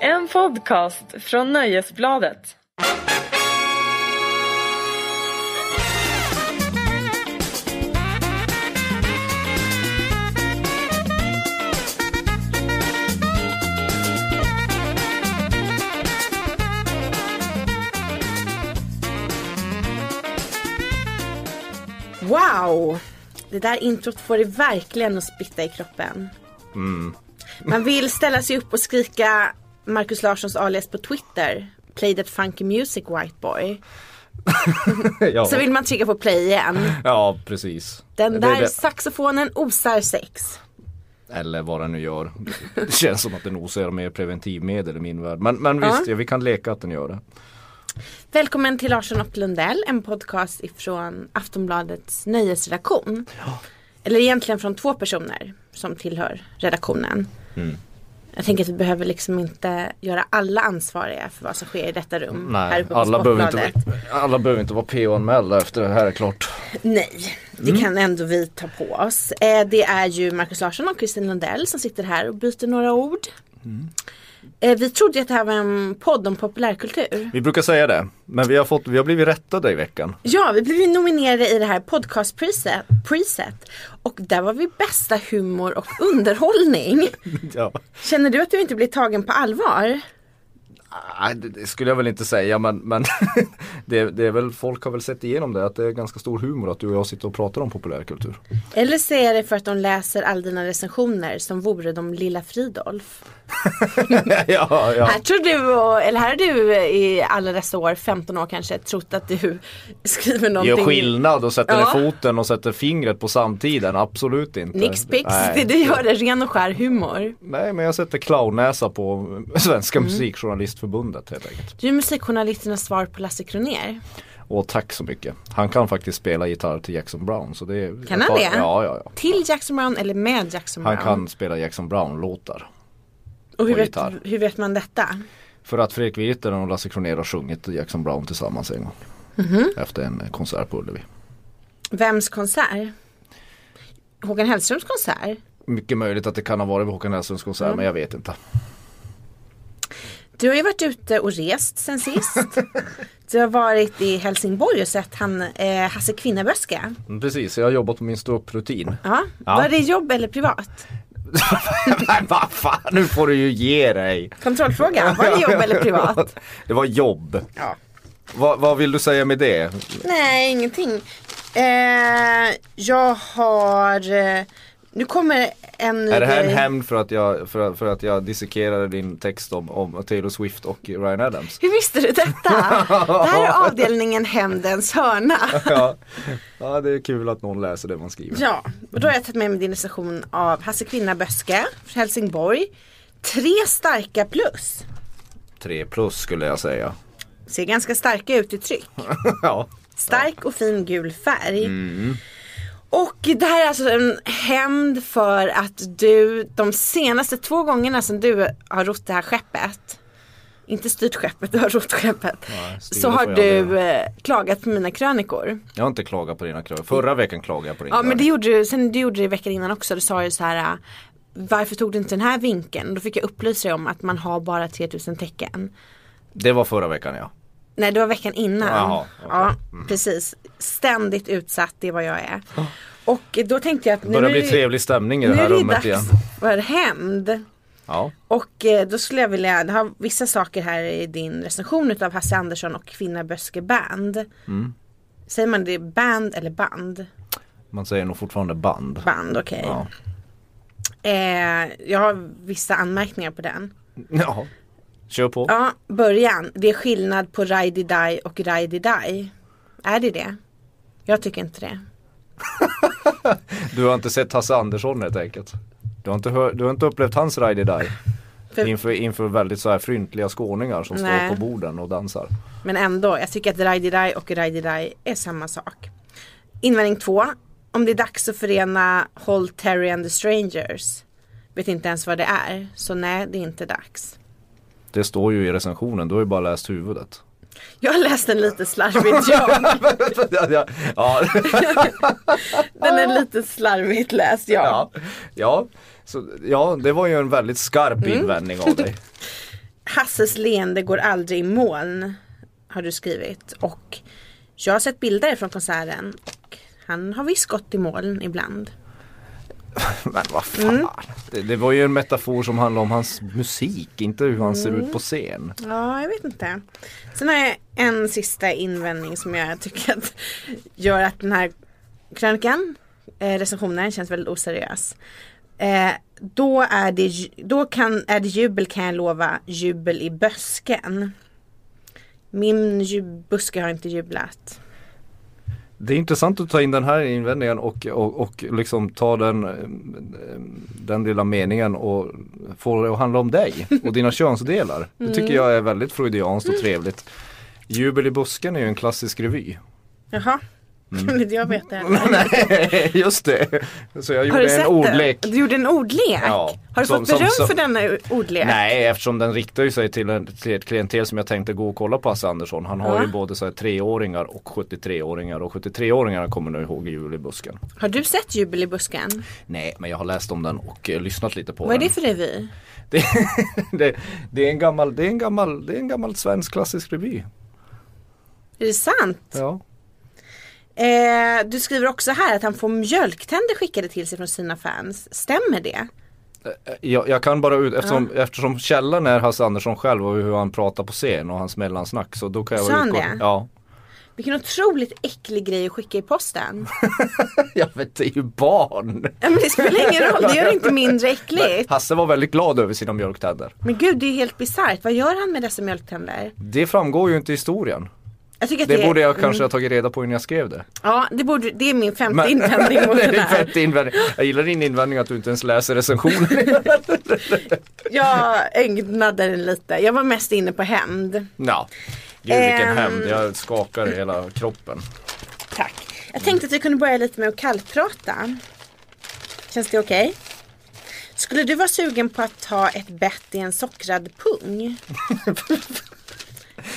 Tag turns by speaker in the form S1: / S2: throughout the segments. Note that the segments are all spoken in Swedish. S1: En podcast från Nöjesbladet.
S2: Wow! Det där introt får det verkligen att splitta i kroppen.
S3: Mm.
S2: Man vill ställa sig upp och skrika Markus Larssons alias på Twitter. Play that funky music white boy.
S3: ja.
S2: Så vill man trycka på play igen.
S3: ja, precis.
S2: Den
S3: Det-
S2: där
S3: det-
S2: saxofonen osar sex.
S3: Eller vad den nu gör. Det känns som att den osar mer preventivmedel i min värld. Men, men visst, ja, vi kan leka att den gör det.
S2: Välkommen till Larsson och Lundell, en podcast ifrån Aftonbladets nöjesredaktion. Eller egentligen från två personer som tillhör redaktionen.
S3: Mm.
S2: Jag tänker att vi behöver liksom inte göra alla ansvariga för vad som sker i detta rum. här
S3: Nej,
S2: uppe på
S3: alla behöver, inte,
S2: Sportbladet.
S3: alla behöver inte vara PO-anmälda efter det här är klart.
S2: Nej, det
S3: Mm.
S2: kan ändå vi ta på oss. Eh, det är ju Markus Larsson och Kristin Lundell som sitter här och byter några ord.
S3: Mm.
S2: Eh, vi trodde ju att det här var en podd om populärkultur.
S3: Vi brukar säga det, men vi har, fått, vi har blivit rättade i veckan.
S2: Ja, vi blev ju nominerade i det här podcastpriset priset. och där var vi bästa humor och underhållning.
S3: Ja.
S2: Känner du att du inte blir tagen på allvar?
S3: Nej, det, det skulle jag väl inte säga, men, men det, det är väl, folk har väl sett igenom det, att det är ganska stor humor att du och jag sitter och pratar om populärkultur.
S2: Eller så är det för att de läser all dina recensioner som vore de lilla Fridolf.
S3: ja, ja.
S2: Här tror du, och- eller här har du i alla dessa år, 15 år kanske, trott att du skriver någonting.
S3: Gör skillnad och
S2: Ja.
S3: sätter ner foten och sätter fingret på samtiden, absolut inte.
S2: Nix pix,
S3: Nej.
S2: det du gör är ren och skär humor.
S3: Nej men jag sätter clownnäsa på Svenska
S2: Mm.
S3: Musikjournalistförbundet helt enkelt.
S2: Du är musikjournalisternas svar på Lasse Kronér.
S3: Och tack så mycket. Han kan faktiskt spela gitarr till Jackson Brown. Så det,
S2: Kan han
S3: jag tar-
S2: det?
S3: Ja, ja, ja.
S2: Till Jackson Brown eller med Jackson
S3: Han
S2: Brown?
S3: kan spela Jackson Brown-låtar.
S2: och hur
S3: på
S2: vet,
S3: gitarr.
S2: hur vet man detta?
S3: För att Fredrik Virtanen och Lasse Kronér har sjungit Jackson Brown tillsammans en gång.
S2: Mhm.
S3: Efter en eh, konsert på Ullevi.
S2: Vems konsert? Håkan Hellströms konsert?
S3: Mycket möjligt att det kan ha varit Håkan Hellströms konsert
S2: Mm.
S3: men jag vet inte.
S2: Du har ju varit ute och rest sen sist. du har varit i Helsingborg och sett han, eh, Hasse Kvinnaböske.
S3: Mm, Precis, jag har jobbat på min ståupprutin.
S2: Ja.
S3: Ja.
S2: Var det jobb eller privat?
S3: Nej vad fan, nu får du ju ge dig.
S2: Kontrollfråga, var det jobb eller privat?
S3: Det var jobb.
S2: Ja.
S3: Vad, vad vill du säga med det?
S2: Nej, ingenting. Eh, jag har... eh, Nu kommer en ny
S3: Är det här en
S2: grej.
S3: hämnd för att jag, för, att- för att jag dissekerade din text om, om Taylor Swift och Ryan Adams?
S2: Hur visste du detta? det här är avdelningen Hämndens hörna.
S3: Ja. ja, det är kul att någon läser det man skriver.
S2: Ja, och då har jag tagit med mig din recension av Hasse Kvinnaböske från Helsingborg. Tre starka plus.
S3: Tre plus skulle jag säga.
S2: Ser ganska starka ut i tryck.
S3: ja.
S2: Stark och fin gul färg.
S3: Mm.
S2: Och det här är alltså en hämnd för att du de senaste två gångerna som du har rott det här skeppet inte styrt skeppet, du har rott skeppet.
S3: Nej, styra
S2: så har
S3: får jag
S2: du eh, klagat på mina krönikor.
S3: Jag har inte klagat på dina krav. Förra veckan klagade jag på din
S2: Ja men
S3: krav.
S2: det gjorde du, sen du gjorde det veckan innan också, du sa ju så här äh, varför tog du inte den här vinkeln? Då fick jag upplysa dig om att man har bara 3000 tecken.
S3: det var förra veckan ja.
S2: Nej det var veckan innan.
S3: Jaha, okej. Mm.
S2: Ja precis. Ständigt utsatt, det är vad jag är. Och då tänkte jag att
S3: Det
S2: nu
S3: börjar
S2: är
S3: bli
S2: det,
S3: trevlig stämning i
S2: nu
S3: det
S2: är
S3: här
S2: det ju
S3: rummet igen.
S2: dags för hämnd.
S3: Ja.
S2: Och eh, då skulle jag vilja, det har vissa saker här i din recension utav Hasse Andersson och Kvinna Böske Band.
S3: Mm.
S2: Säger man det band eller band?
S3: Man säger nog fortfarande band.
S2: Band, okej.
S3: Ja.
S2: Eh, jag har vissa anmärkningar på den.
S3: ja. Kör på.
S2: Ja, början. Det är skillnad på Ride Die och Ride Die. Är det det? Jag tycker inte det.
S3: Du har inte sett Hasse Andersson helt enkelt. Du har inte, hör, du har inte upplevt hans Ride Die.
S2: För-
S3: Inför, inför väldigt så här fryntliga skåningar som
S2: Nej.
S3: står på borden och dansar.
S2: Men ändå, jag tycker att Ride Die och Ride Die är samma sak. Invändning två. Om det är dags att förena Håll Terry and the Strangers. Vet inte ens vad det är. Så nej, det är inte dags.
S3: Det står ju i recensionen, du har ju bara läst huvudet.
S2: Jag har läst den lite slarvigt jag.
S3: ja, ja,
S2: Den är lite slarvigt läst jag.
S3: Mm. ja, ja. Så, ja, det var ju en väldigt skarp invändning av dig.
S2: Hasses leende går aldrig i moln. Har du skrivit. Och jag har sett bilder från konserten. Och han har visst gått i moln ibland.
S3: Men vad fan. Mm. Det, det var ju en metafor som handlade om hans musik, inte hur han ser ut på scen.
S2: Ja, jag vet inte. Sen har jag en sista invändning som jag tycker att gör att den här krönikan, eh, recensionen, känns väldigt oseriös. Eh, då är det, ju- då kan, är det jubel kan jag lova, jubel i busken. Min ju- buske har inte jublat.
S3: Det är intressant att ta in den här invändningen och, och, och liksom ta den, eh, den lilla meningen och få det att handla om dig och dina könsdelar.
S2: Mm.
S3: Det tycker jag är väldigt freudianskt och trevligt. Jubel i busken är ju en klassisk revy.
S2: Jaha,
S3: Mm.
S2: kunde inte jag veta det?
S3: Nej, just det. Så jag
S2: Har du
S3: gjorde
S2: sett
S3: en ordlek.
S2: den? Du gjorde en ordlek?
S3: Ja.
S2: Har du
S3: Som-
S2: fått
S3: som-
S2: beröm
S3: som-
S2: för denna u- ordlek?
S3: Nej, eftersom den riktar ju sig till, en, till ett klientel som jag tänkte gå och kolla på Hasse Andersson. Han har
S2: Ja.
S3: ju både så här treåringar och 73-åringar och 73-åringarna kommer nu ihåg Jul i busken.
S2: Har du sett jubel i busken?
S3: Nej, men jag har läst om den och eh, lyssnat lite på
S2: Vad är
S3: den.
S2: det för revy?
S3: Det, det, det, är en gammal, det, är en gammal, det är en gammal svensk klassisk revy.
S2: Är det sant?
S3: Ja.
S2: Eh, du skriver också här att han får mjölktänder skickade till sig från sina fans. Stämmer det?
S3: Jag, jag kan bara ut, eftersom, eftersom källan är Hasse Andersson själv och hur han pratar på scen och hans mellansnack så då kan jag
S2: Sa han
S3: utgå.
S2: det?
S3: Ja.
S2: Vilken otroligt äcklig grej att skicka i posten.
S3: Jag vet, det är ju barn.
S2: Ja, Men det spelar ingen roll, det gör det inte mindre äckligt.
S3: Hasse var väldigt glad över sina mjölktänder.
S2: Men gud, det är ju helt bisarrt. Vad gör han med dessa mjölktänder?
S3: Det framgår ju inte i historien.
S2: Jag tycker att det, mm.
S3: Det borde jag
S2: är-
S3: kanske ha tagit reda på innan jag skrev det.
S2: Ja, det, borde, det är min femte
S3: Men-
S2: invändning mot
S3: Det är
S2: det
S3: din
S2: här.
S3: femte invändning. Jag gillar din invändning att du inte ens läser recensioner.
S2: Jag ägnade den lite. Jag var mest inne på hämnd.
S3: ja. Gud vilken
S2: Ehm.
S3: hämnd, jag skakar i hela kroppen.
S2: Tack. Jag tänkte att vi kunde börja lite med att kallprata. Känns det okej? Skulle du vara sugen på att ta ett bett i en sockrad pung?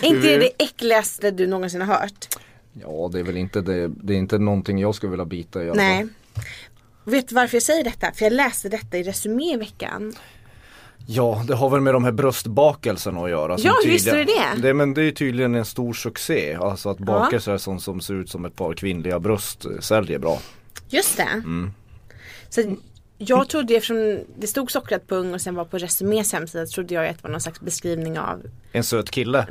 S2: Är inte det det äckligaste du någonsin har hört?
S3: Ja det är väl inte det, det är inte någonting jag skulle vilja bita i alla
S2: Nej.
S3: fall.
S2: Vet du varför jag säger detta? För jag läste detta i Resumé i veckan.
S3: Ja det har väl med de här bröstbakelserna att göra. som
S2: Ja, visst är det
S3: tydligen-
S2: det.
S3: det? men det är tydligen en stor succé. Alltså att bakelser som, som ser ut som ett par kvinnliga bröst eh, säljer bra.
S2: Just det. Så jag trodde eftersom det stod sockrad pung och sen var på Resumés hemsida trodde jag att det var någon slags beskrivning av,
S3: En söt kille.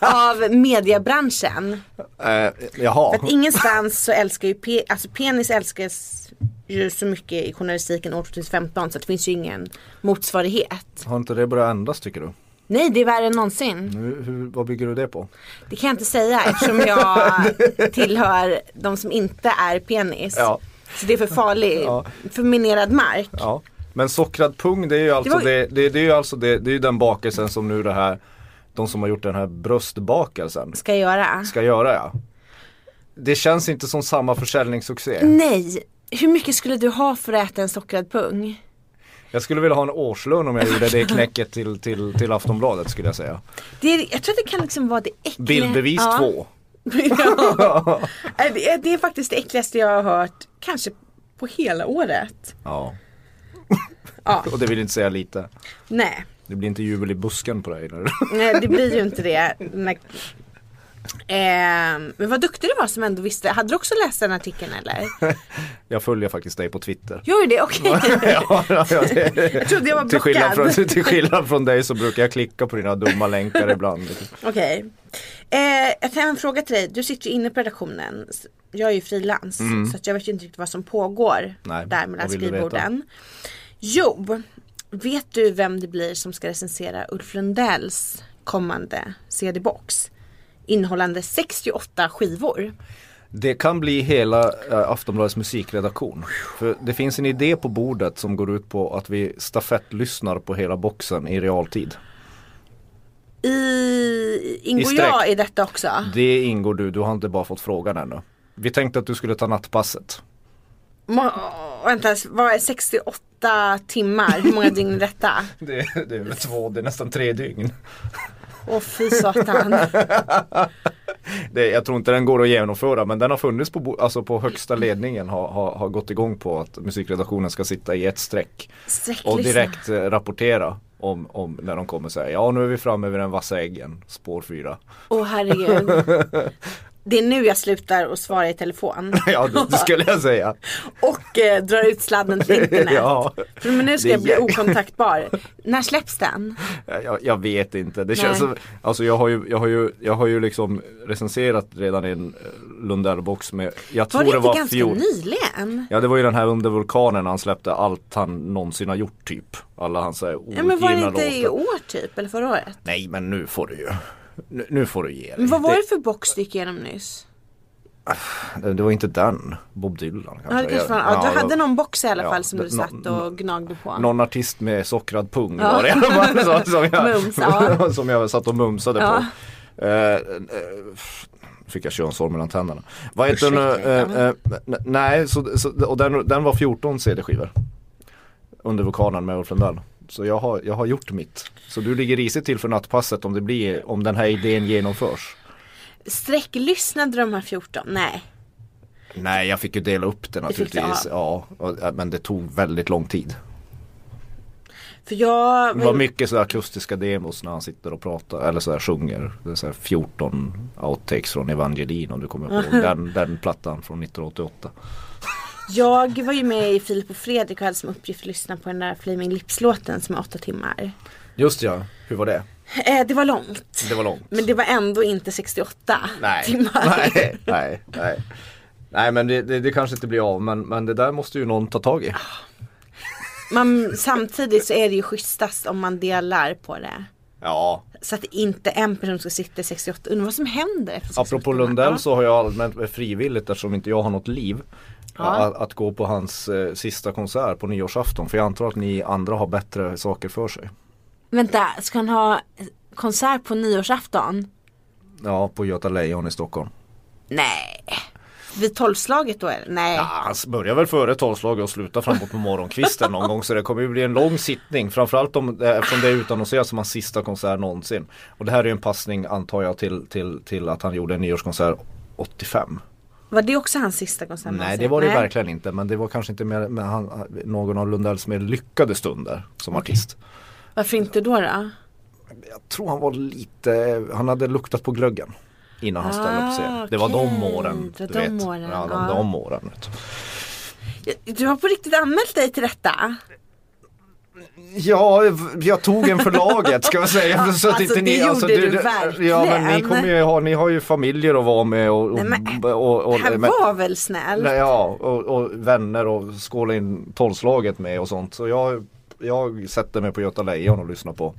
S2: av mediebranschen.
S3: Eh, jaha.
S2: Mm. För att ingenstans så älskar ju pe- alltså penis älskas ju så mycket i journalistiken år 2015 så det finns ju ingen motsvarighet.
S3: Har inte det börjat ändras tycker du?
S2: Nej det är värre än någonsin.
S3: Hur, hur, vad bygger du det på?
S2: Det kan jag inte säga eftersom jag tillhör de som inte är penis.
S3: Ja.
S2: Så det är för farlig,
S3: Ja.
S2: för minerad mark.
S3: Ja. Men sockrad pung det är ju alltså,
S2: var ju-
S3: det, det, det är ju alltså det, det är ju den bakelsen som nu det här De som har gjort den här bröstbakelsen
S2: Ska jag göra.
S3: ska göra ja Det känns inte som samma försäljningssuccé
S2: Nej, hur mycket skulle du ha för att äta en sockrad pung?
S3: Jag skulle vilja ha en årslön om jag gjorde det knäcket till, till, till Aftonbladet skulle jag säga
S2: Det är, jag tror att det kan liksom vara det äckliga.
S3: Bildbevis
S2: Ja.
S3: två
S2: Ja. Nej, det, är, det är faktiskt det äckligaste jag har hört kanske på hela året.
S3: Ja
S2: Ja.
S3: Och det vill inte säga lite
S2: Nej,
S3: Det blir inte jubel i busken på dig eller?
S2: nej det blir ju inte det. Nej. Ehm, men vad duktig du var som ändå visste. Hade du också läst den artikeln eller?
S3: Jag följer faktiskt dig på Twitter
S2: Gör du det? Okej.
S3: ja, ja, det,
S2: Jag trodde jag var
S3: till, skillnad från,
S2: blockad.
S3: till skillnad från dig så brukar jag klicka på dina dumma länkar ibland
S2: Okej. Eh, jag kan en fråga till dig. Du sitter ju inne på redaktionen. S- Jag är ju frilans så att jag vet ju inte riktigt vad som pågår
S3: Mm. Nej,
S2: där mellan
S3: vad vill du
S2: skrivborden. Jo, vet du vem det blir som ska recensera Ulf Lundells kommande CD-box? Innehållande 68 skivor.
S3: Det kan bli hela eh, Aftonbladets musikredaktion. För det finns en idé på bordet som går ut på att vi stafettlyssnar på hela boxen i realtid.
S2: I, ingår
S3: I sträck.
S2: jag i detta också?
S3: Det ingår du, du har inte bara fått frågan ännu. Vi tänkte att du skulle ta nattpasset.
S2: Ma- vänta, vad är 68 timmar? Hur många dygn är detta?
S3: Det, det är väl två, det är nästan tre dygn.
S2: Åh fy satan.
S3: Det, jag tror inte den går att genomföra men den har funnits på, bo- alltså på högsta ledningen har, har, har gått igång på att musikredaktionen ska sitta i ett streck.
S2: Sträcklyssna.
S3: Och direkt eh, rapportera Om, om när de kommer säga ja nu är vi framme vid den vassa äggen, spår 4.
S2: Åh herregud. Det är nu jag slutar att svara i telefon.
S3: ja det, det skulle jag säga.
S2: Och eh, drar ut sladden till internet.
S3: ja,
S2: För men nu ska
S3: Det är
S2: jag bli
S3: jä-
S2: okontaktbar. När släpps den?
S3: Eh, jag, jag vet inte. Det
S2: Nej.
S3: känns som, alltså jag har, ju, jag, har ju, jag har ju liksom recenserat redan i en eh, Lundellbox med, jag
S2: Var
S3: tror
S2: det
S3: det
S2: inte
S3: var
S2: ganska
S3: fjol.
S2: nyligen?
S3: Ja det var ju den här under vulkanen han släppte allt han någonsin har gjort typ. Alla hans så här
S2: Ja, men var det
S3: outgivna
S2: inte i
S3: låtar.
S2: år typ? Eller förra året?
S3: Nej men nu får du ju. Nu, nu får du ge dig.
S2: Men vad var det för box du gick igenom nyss?
S3: det, det var inte den. Bob Dylan kanske.
S2: Ja, det kanske var, ja, du hade någon box i alla
S3: ja,
S2: fall som
S3: det-
S2: du
S3: nå-
S2: satt och gnagde på.
S3: Någon artist med sockrad pung
S2: Ja.
S3: var det i alla fall så- som,
S2: Mums, ja.
S3: jag, som jag satt och mumsade
S2: Ja.
S3: på. Eh, eh, f- fick jag könshår mellan tänderna. Vad heter den?
S2: Ursäkta.
S3: eh, eh, n- nej, så, så, och den, den var 14 CD-skivor. Under vulkanen med Ulf Lundell. Så jag har, jag har gjort mitt. Så du ligger risigt till för nattpasset om, det blir, om den här idén genomförs.
S2: Sträcklyssnade de här 14? Nej.
S3: Nej, jag fick ju dela upp det
S2: fick du,
S3: naturligtvis. Ja, och, eh, men det tog väldigt lång tid.
S2: För jag
S3: Det var mycket så här akustiska demos när han sitter och pratar eller så här sjunger. Det är så här 14 outtakes från Evangeline om du kommer ihåg den, den plattan från 1988.
S2: Jag var ju med i Filip och Fredrik och hade som uppgift att lyssna på den där Flaming Lips-låten som är åtta timmar.
S3: Just ja, hur var det?
S2: Eh, det var långt.
S3: Det var långt.
S2: Men det var ändå inte 68
S3: nej,
S2: timmar.
S3: nej, nej, nej. Nej men det, det, det kanske inte blir av men, men det där måste ju någon ta tag i.
S2: Man, samtidigt så är det ju schysstast om man delar på det.
S3: Ja,
S2: Så att inte en person ska sitta i 68. Undrar vad som händer efter 68
S3: apropå Lundell så har jag allmänt frivilligt eftersom inte jag har något liv.
S2: Ja.
S3: Att, att gå på hans eh, sista konsert på nyårsafton för jag antar att ni andra har bättre saker för sig.
S2: Vänta, ska han ha konsert på nyårsafton?
S3: Ja, på Göta Lejon i Stockholm.
S2: Nej. Vid tolvslaget då eller? Nej.
S3: Ja, han börjar väl före tolvslaget och slutar framåt på morgonkvisten någon gång så det kommer ju bli en lång sittning framförallt om, eh, eftersom det är utannonserat som hans sista konsert någonsin. Och det här är ju en passning antar jag till, till, till att han gjorde en nyårskonsert 85.
S2: Var det också hans sista konsert?
S3: Nej
S2: någonsin?
S3: det var det
S2: Nej.
S3: verkligen inte men det var kanske inte mer, men han, någon av Lundells mer lyckade stunder som artist.
S2: Varför inte då då?
S3: Jag tror han var lite, han hade luktat på glöggen. Innan han ställde upp på
S2: Ah,
S3: scen. Det var de
S2: okej.
S3: åren.
S2: Det
S3: Du
S2: var de
S3: vet.
S2: åren,
S3: Ja,
S2: ja.
S3: de, de åren. Vet du.
S2: Du har på riktigt anmält dig till detta?
S3: Ja, jag tog en för laget ska jag säga.
S2: Ja,
S3: så att
S2: alltså,
S3: inte ni,
S2: det gjorde
S3: alltså,
S2: du
S3: Ja,
S2: verkligen.
S3: men ni, kommer ju ha, ni har ju familjer att vara med och, och,
S2: Nej, men,
S3: och, och,
S2: Han
S3: men-
S2: var väl snäll?
S3: nej, ja, och, och vänner och skåla in tolvslaget med och sånt. Så jag, jag sätter mig på Göta Lejon och lyssnar på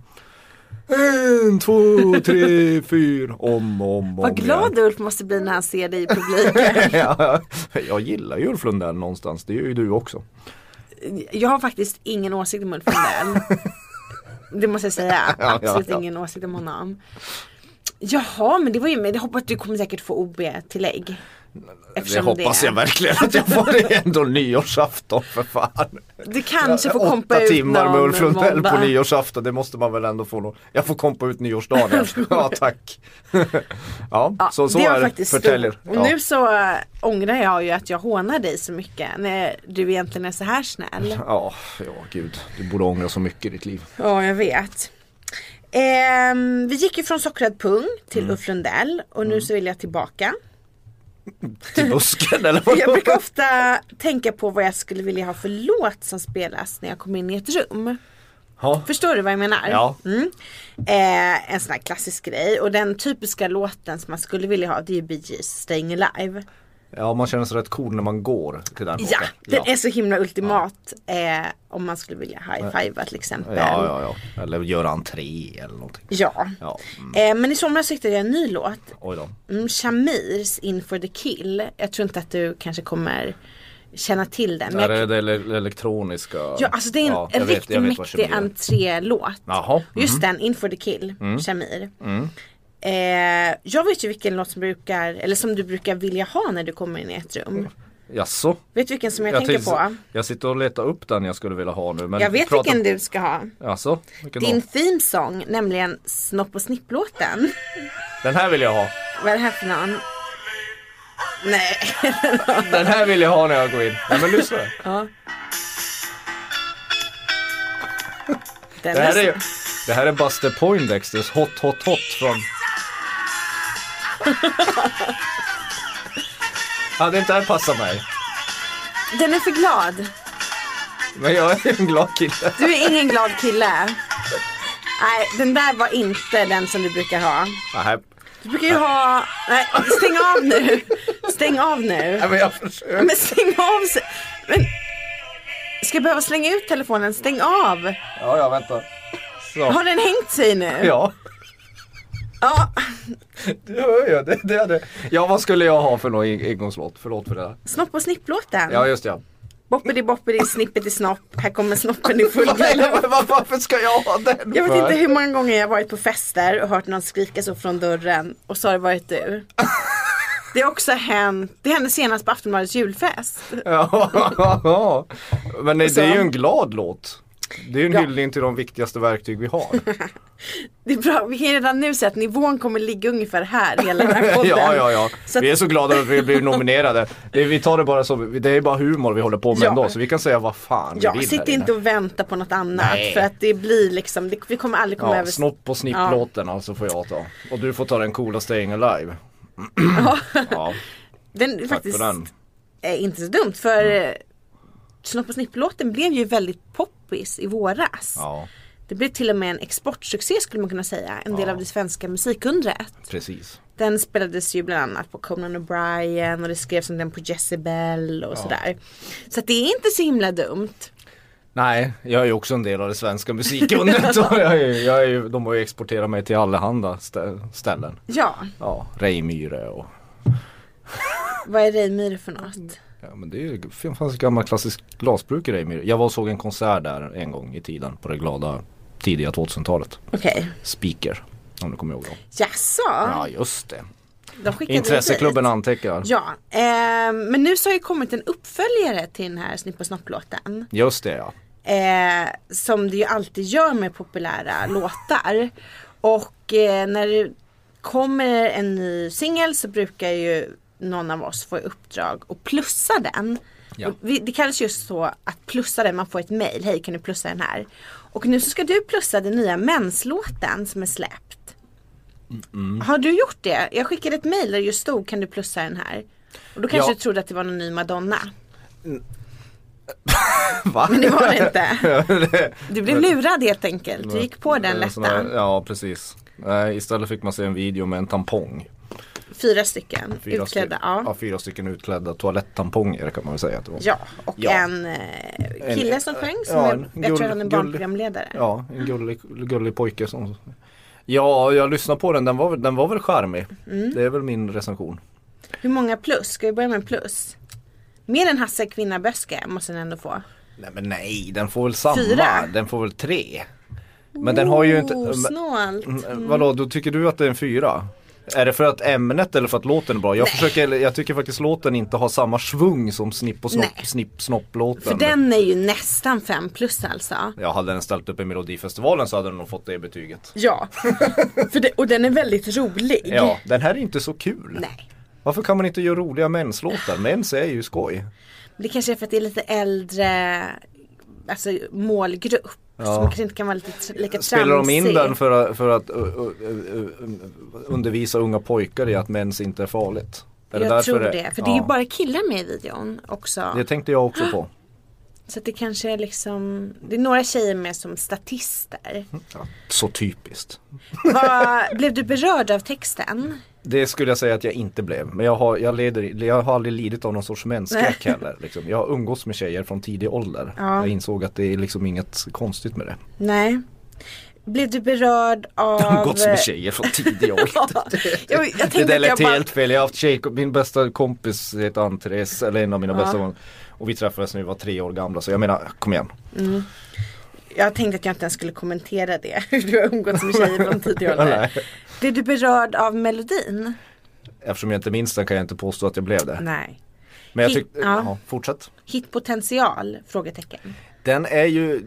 S3: en, två, tre, fyra, om, om, om
S2: Vad glad Ulf måste bli när han ser dig i publiken.
S3: ja, Jag gillar ju Ulf Lundell någonstans, det gör ju du också.
S2: Jag har faktiskt ingen åsikt om Ulf Lundell. Det måste jag säga.
S3: ja,
S2: Absolut
S3: ja.
S2: ingen åsikt om honom. Jaha, men det var ju med. Jag hoppas att du kommer säkert få OB-tillägg.
S3: Det
S2: Eftersom
S3: hoppas jag verkligen att jag får det är ändå nyårsafton för fan.
S2: Du kanske får
S3: Åtta
S2: kompa ut
S3: timmar
S2: någon
S3: med Ulf Lundell på
S2: måndag.
S3: nyårsafton, det måste man väl ändå få nå- Jag får kompa ut nyårsdagen. ja tack. ja,
S2: Ja,
S3: så, så
S2: det var
S3: är det.
S2: faktiskt
S3: Förtäljer.
S2: stort. Och
S3: Ja.
S2: nu så äh, ångrar jag ju att jag hånar dig så mycket när du egentligen är så här snäll.
S3: Ja, ja gud. Du borde ångra så mycket i ditt liv.
S2: Ja, jag vet. Ehm, vi gick ju från sockrad pung till
S3: Mm.
S2: Ulf Lundell och nu så vill jag tillbaka.
S3: Till busken eller vad?
S2: Jag brukar ofta tänka på vad jag skulle vilja ha för låt som spelas när jag kommer in i ett rum.
S3: Ja.
S2: Förstår du vad jag menar?
S3: Ja.
S2: Mm. Eh, en sån här klassisk grej och den typiska låten som man skulle vilja ha det är ju Bee Gees Staying Alive.
S3: ja, man känner sig rätt cool när man går till den
S2: Ja,
S3: låten.
S2: den är så himla ultimat eh, om man skulle vilja high-fivea till exempel.
S3: ja, ja, ja. Eller göra entré eller någonting.
S2: Ja.
S3: Ja, Mm.
S2: Eh, men i somras hittade jag en ny låt.
S3: oj då.
S2: Mm, Shamirs In for the kill. Jag tror inte att du kanske kommer känna till den. Men
S3: Är
S2: jag
S3: det det ele- elektroniska?
S2: Ja, alltså det är en,
S3: Ja, jag
S2: en
S3: vet-
S2: riktigt
S3: jag vet vad som
S2: mäktig
S3: blir.
S2: entrélåt.
S3: Jaha. Mhm. Mm.
S2: Just den, In for the kill, Shamir. Eh, jag vet ju vilken låt som brukar, eller som du brukar vilja ha när du kommer in i ett rum.
S3: Jaså?
S2: Vet du vilken som jag, tänker
S3: tänkte-
S2: på?
S3: Jag sitter och letar upp den jag skulle vilja ha nu. Men
S2: Jag vet
S3: prata-
S2: vilken du ska ha.
S3: Jaså? Vilken
S2: Din
S3: då?
S2: theme song, nämligen Snopp och snipplåten.
S3: Den här vill jag ha.
S2: Vad är det här för någon? Nej.
S3: Den här vill jag ha när jag går in. Nej men lyssna.
S2: Ja. Den
S3: Det här
S2: är...
S3: är, det här är Buster Poindexters Hot Hot Hot från... Hade inte det här passat mig?
S2: Den är för glad.
S3: Men jag är en glad kille.
S2: Du är ingen glad kille. Nej, den där var inte den som du brukar ha.
S3: Nej,
S2: Du brukar ju ha... Nej, stäng av nu. Stäng av nu.
S3: men jag försöker.
S2: Men stäng av. se- Men... Ska jag behöva slänga ut telefonen? Stäng av.
S3: Ja, ja, vänta. Så.
S2: Har den hängt sig nu?
S3: Ja,
S2: Ja,
S3: det hör jag. Det, det, det. Ja, vad skulle jag ha för någon ing- ingångslåt? Förlåt för det. här.
S2: Snopp och snipplåten.
S3: Ja, just det. ja.
S2: Boppidi boppidi snippeti snopp. Här kommer snoppen i full galopp.
S3: Men vad- Varför ska jag ha den
S2: Jag vet
S3: för?
S2: inte hur många gånger jag har varit på fester och hört någon skrika så från dörren och så har det varit du. Det har också hänt, det hände senast på Aftonbladets julfest.
S3: Ja, men nej, det är ju
S2: Så.
S3: en glad låt. Det är ju en
S2: Ja.
S3: hyllning till de viktigaste verktyg vi har.
S2: Det är bra, vi kan redan nu säga att nivån kommer ligga ungefär här hela den här podden.
S3: Ja, ja, ja.
S2: Så att-
S3: Vi är så glada över att vi blev nominerade. Det, vi tar det bara som, det är bara humor vi håller på med
S2: Ja.
S3: ändå. Så vi kan säga vad fan
S2: Ja,
S3: vi vill
S2: sitt
S3: här
S2: inte
S3: inne.
S2: och vänta på något annat
S3: Nej.
S2: för att det blir liksom, det, vi kommer aldrig komma
S3: Ja,
S2: över.
S3: snopp och snipplåten alltså får jag ta. Och du får ta den coola Staying Alive. ja,
S2: Den är
S3: tack för
S2: faktiskt
S3: den.
S2: är inte så dumt för mm. Snopp och snipplåten blev ju väldigt poppis i våras.
S3: Ja,
S2: Det blev till och med en exportsuccé skulle man kunna säga. En del
S3: Ja.
S2: av det svenska musikundret.
S3: precis.
S2: Den spelades ju bland annat på Conan O'Brien och det skrevs om den på Jezebel och sådär. Så att det är inte så himla dumt.
S3: Nej, jag är ju också en del av det svenska musikundret. och jag är, ju- jag är, ju- de har ju exporterat mig till allehanda stä- ställen.
S2: Ja,
S3: Ja, Reimyre och
S2: vad är Reimyre för något?
S3: Ja men det är ju, det fanns ett gammalt klassiskt glasbruk i Reimyre. Jag var och såg en konsert där en gång i tiden på det glada tidiga 2000-talet.
S2: Okej,
S3: Speaker, om du kommer ihåg dem.
S2: jaså?
S3: Ja just det.
S2: De skickade
S3: Intresseklubben
S2: dit.
S3: antecknar.
S2: Ja, eh, men nu så har ju kommit en uppföljare till den här Snipp och snopp-låten.
S3: Just det ja.
S2: eh, som det ju alltid gör med populära låtar. Och eh, när det kommer en ny singel så brukar ju någon av oss få i uppdrag att plussa den.
S3: Ja.
S2: Och vi, det kallas just så att plussa den, man får ett mail, hej kan du plussa den här? Och nu så ska du plussa den nya menslåten som är släppt. Har du gjort det? Jag skickade ett mail där det just stod kan du plussa den här? Och då kanske
S3: Ja.
S2: du trodde att det var någon ny Madonna.
S3: Va?
S2: Men det var det inte.
S3: det
S2: Du blev lurad helt enkelt. Du gick på den
S3: En sån här-
S2: lättan.
S3: Ja precis. Nej, istället fick man se en video med en tampong.
S2: Fyra stycken utklädda.
S3: stycken,
S2: Ja.
S3: fyra stycken utklädda toalettamponger kan man väl säga att det var.
S2: ja, och
S3: Ja.
S2: en eh, kille som sjöng som
S3: ja,
S2: är,
S3: en
S2: jag tror
S3: gull-
S2: han är
S3: gull-
S2: barnprogramledare.
S3: Ja, en gullig, gullig pojke som Ja, jag lyssnade på den, den var, väl- den var väl charmig.
S2: Mm.
S3: Det är väl min recension.
S2: Hur många plus? Ska vi börja med en plus? Mer än Hasse Kvinnaböske måste den ändå få.
S3: Nej men nej, den får väl samma.
S2: Fyra?
S3: Den får väl tre. Men den har ju inte...
S2: Oh, snålt.
S3: Mm, Vadå, då tycker du att det är en fyra? Är det för att ämnet eller för att låten är bra? Jag, försöker, eller jag tycker faktiskt låten inte har samma svung som snipp och snopp,
S2: Nej.
S3: snipp snopplåten.
S2: För den är ju nästan fem plus alltså.
S3: Ja, hade den ställt upp i Melodifestivalen så hade den nog fått det betyget.
S2: Ja, För det, och den är väldigt rolig.
S3: Ja, den här är inte så kul.
S2: Nej.
S3: Varför kan man inte göra roliga menslåtar? Mens är ju skoj.
S2: Det kanske är för att det är lite äldre alltså, målgrupp. Som kanske inte kan vara lite, tr- lika
S3: Spelar de in
S2: tramsig.
S3: den för, att- för att ö, ö, ö, ö, undervisa unga pojkar i att mens inte är farligt? Är
S2: jag
S3: därför
S2: tror det, för det är
S3: ja.
S2: ju bara killar med i videon också.
S3: Det tänkte jag också på.
S2: Så att det kanske är liksom, det är några tjejer med som statister.
S3: Ja, så typiskt.
S2: Vad, blev du berörd av texten?
S3: Det skulle jag säga att jag inte blev. Men jag har, jag leder, jag har aldrig lidit av någon sorts mensskräck heller. Liksom. Jag har umgåtts med tjejer från tidig ålder.
S2: Ja.
S3: Jag insåg att det är liksom inget konstigt med det.
S2: Nej. Blev du berörd av... eh,
S3: Umgåtts med tjejer från tidig ålder.
S2: jag, jag
S3: Det
S2: tänkte
S3: där
S2: att jag
S3: lät
S2: bara,
S3: helt fel. Jag har haft tjej, min bästa kompis heter Antres, eller en av mina bästa vänner. Och vi träffades när vi var tre år gamla så jag menar, kom igen.
S2: jag tänkte att jag inte ens skulle kommentera det. Hur du har umgåtts med tjejer från tidig ålder.
S3: Nej.
S2: Blev du berörd av melodin?
S3: Eftersom jag inte minns den kan jag inte påstå att jag blev det.
S2: Nej.
S3: Men jag
S2: Hit-
S3: tyckte,
S2: ja.
S3: ja. fortsätt.
S2: Hitpotential? Frågetecken.
S3: Den är ju,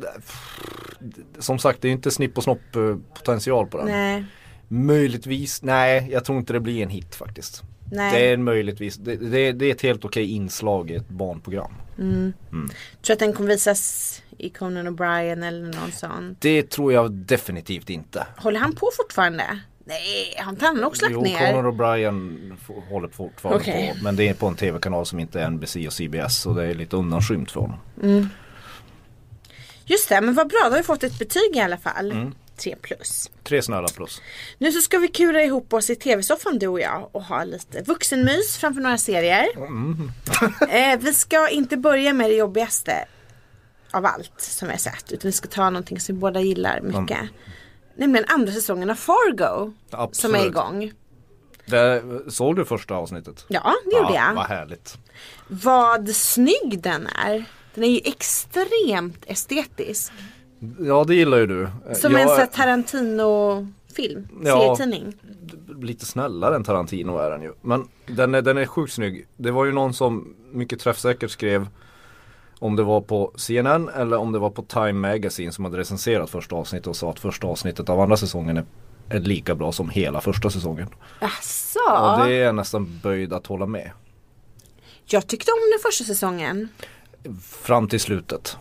S3: som sagt det är ju inte snipp och snopp eh, potential på den.
S2: Nej.
S3: Möjligtvis, nej jag tror inte det blir en hit faktiskt.
S2: Nej.
S3: Det är en möjligtvis, det, det, det är ett helt okej inslag i ett barnprogram.
S2: Tror du att den kommer visas i Conan O'Brien eller någon sån.
S3: Det tror jag definitivt inte.
S2: Håller han på fortfarande? Nej, har inte han också lagt
S3: Jo,
S2: ner?
S3: Conor O'Brien f- håller fortfarande
S2: Okej.
S3: på. Men det är på en tv-kanal som inte är NBC och CBS. Så det är lite undanskymt för honom.
S2: Just det, men vad bra. Då har vi fått ett betyg i alla fall.
S3: Mm.
S2: tre plus.
S3: Tre snälla plus.
S2: Nu så ska vi kura ihop oss i tv-soffan du och jag och ha lite vuxenmys framför några serier.
S3: Mm.
S2: eh, vi ska inte börja med det jobbigaste av allt som vi har sett utan vi ska ta någonting som vi båda gillar
S3: Mm.
S2: mycket. Nämligen andra säsongen av Fargo
S3: Absolut.
S2: som är igång.
S3: Det, såg du första avsnittet?
S2: Ja, det gjorde jag.
S3: Vad härligt.
S2: Vad snygg den är. Den är ju extremt estetisk.
S3: Ja, det gillar ju du. Eh,
S2: Som
S3: jag
S2: en
S3: är
S2: sån här Tarantino-film,
S3: Ja.
S2: serietidning.
S3: Lite snällare än Tarantino är den ju. Men den är, den är sjukt snygg. Det var ju någon som mycket träffsäkert skrev om det var på CNN eller om det var på Time Magazine som hade recenserat första avsnittet och sa att första avsnittet av andra säsongen är, är lika bra som hela första säsongen.
S2: Jaså?
S3: Och det är jag nästan böjd att hålla med.
S2: Jag tyckte om den första säsongen.
S3: Fram till slutet.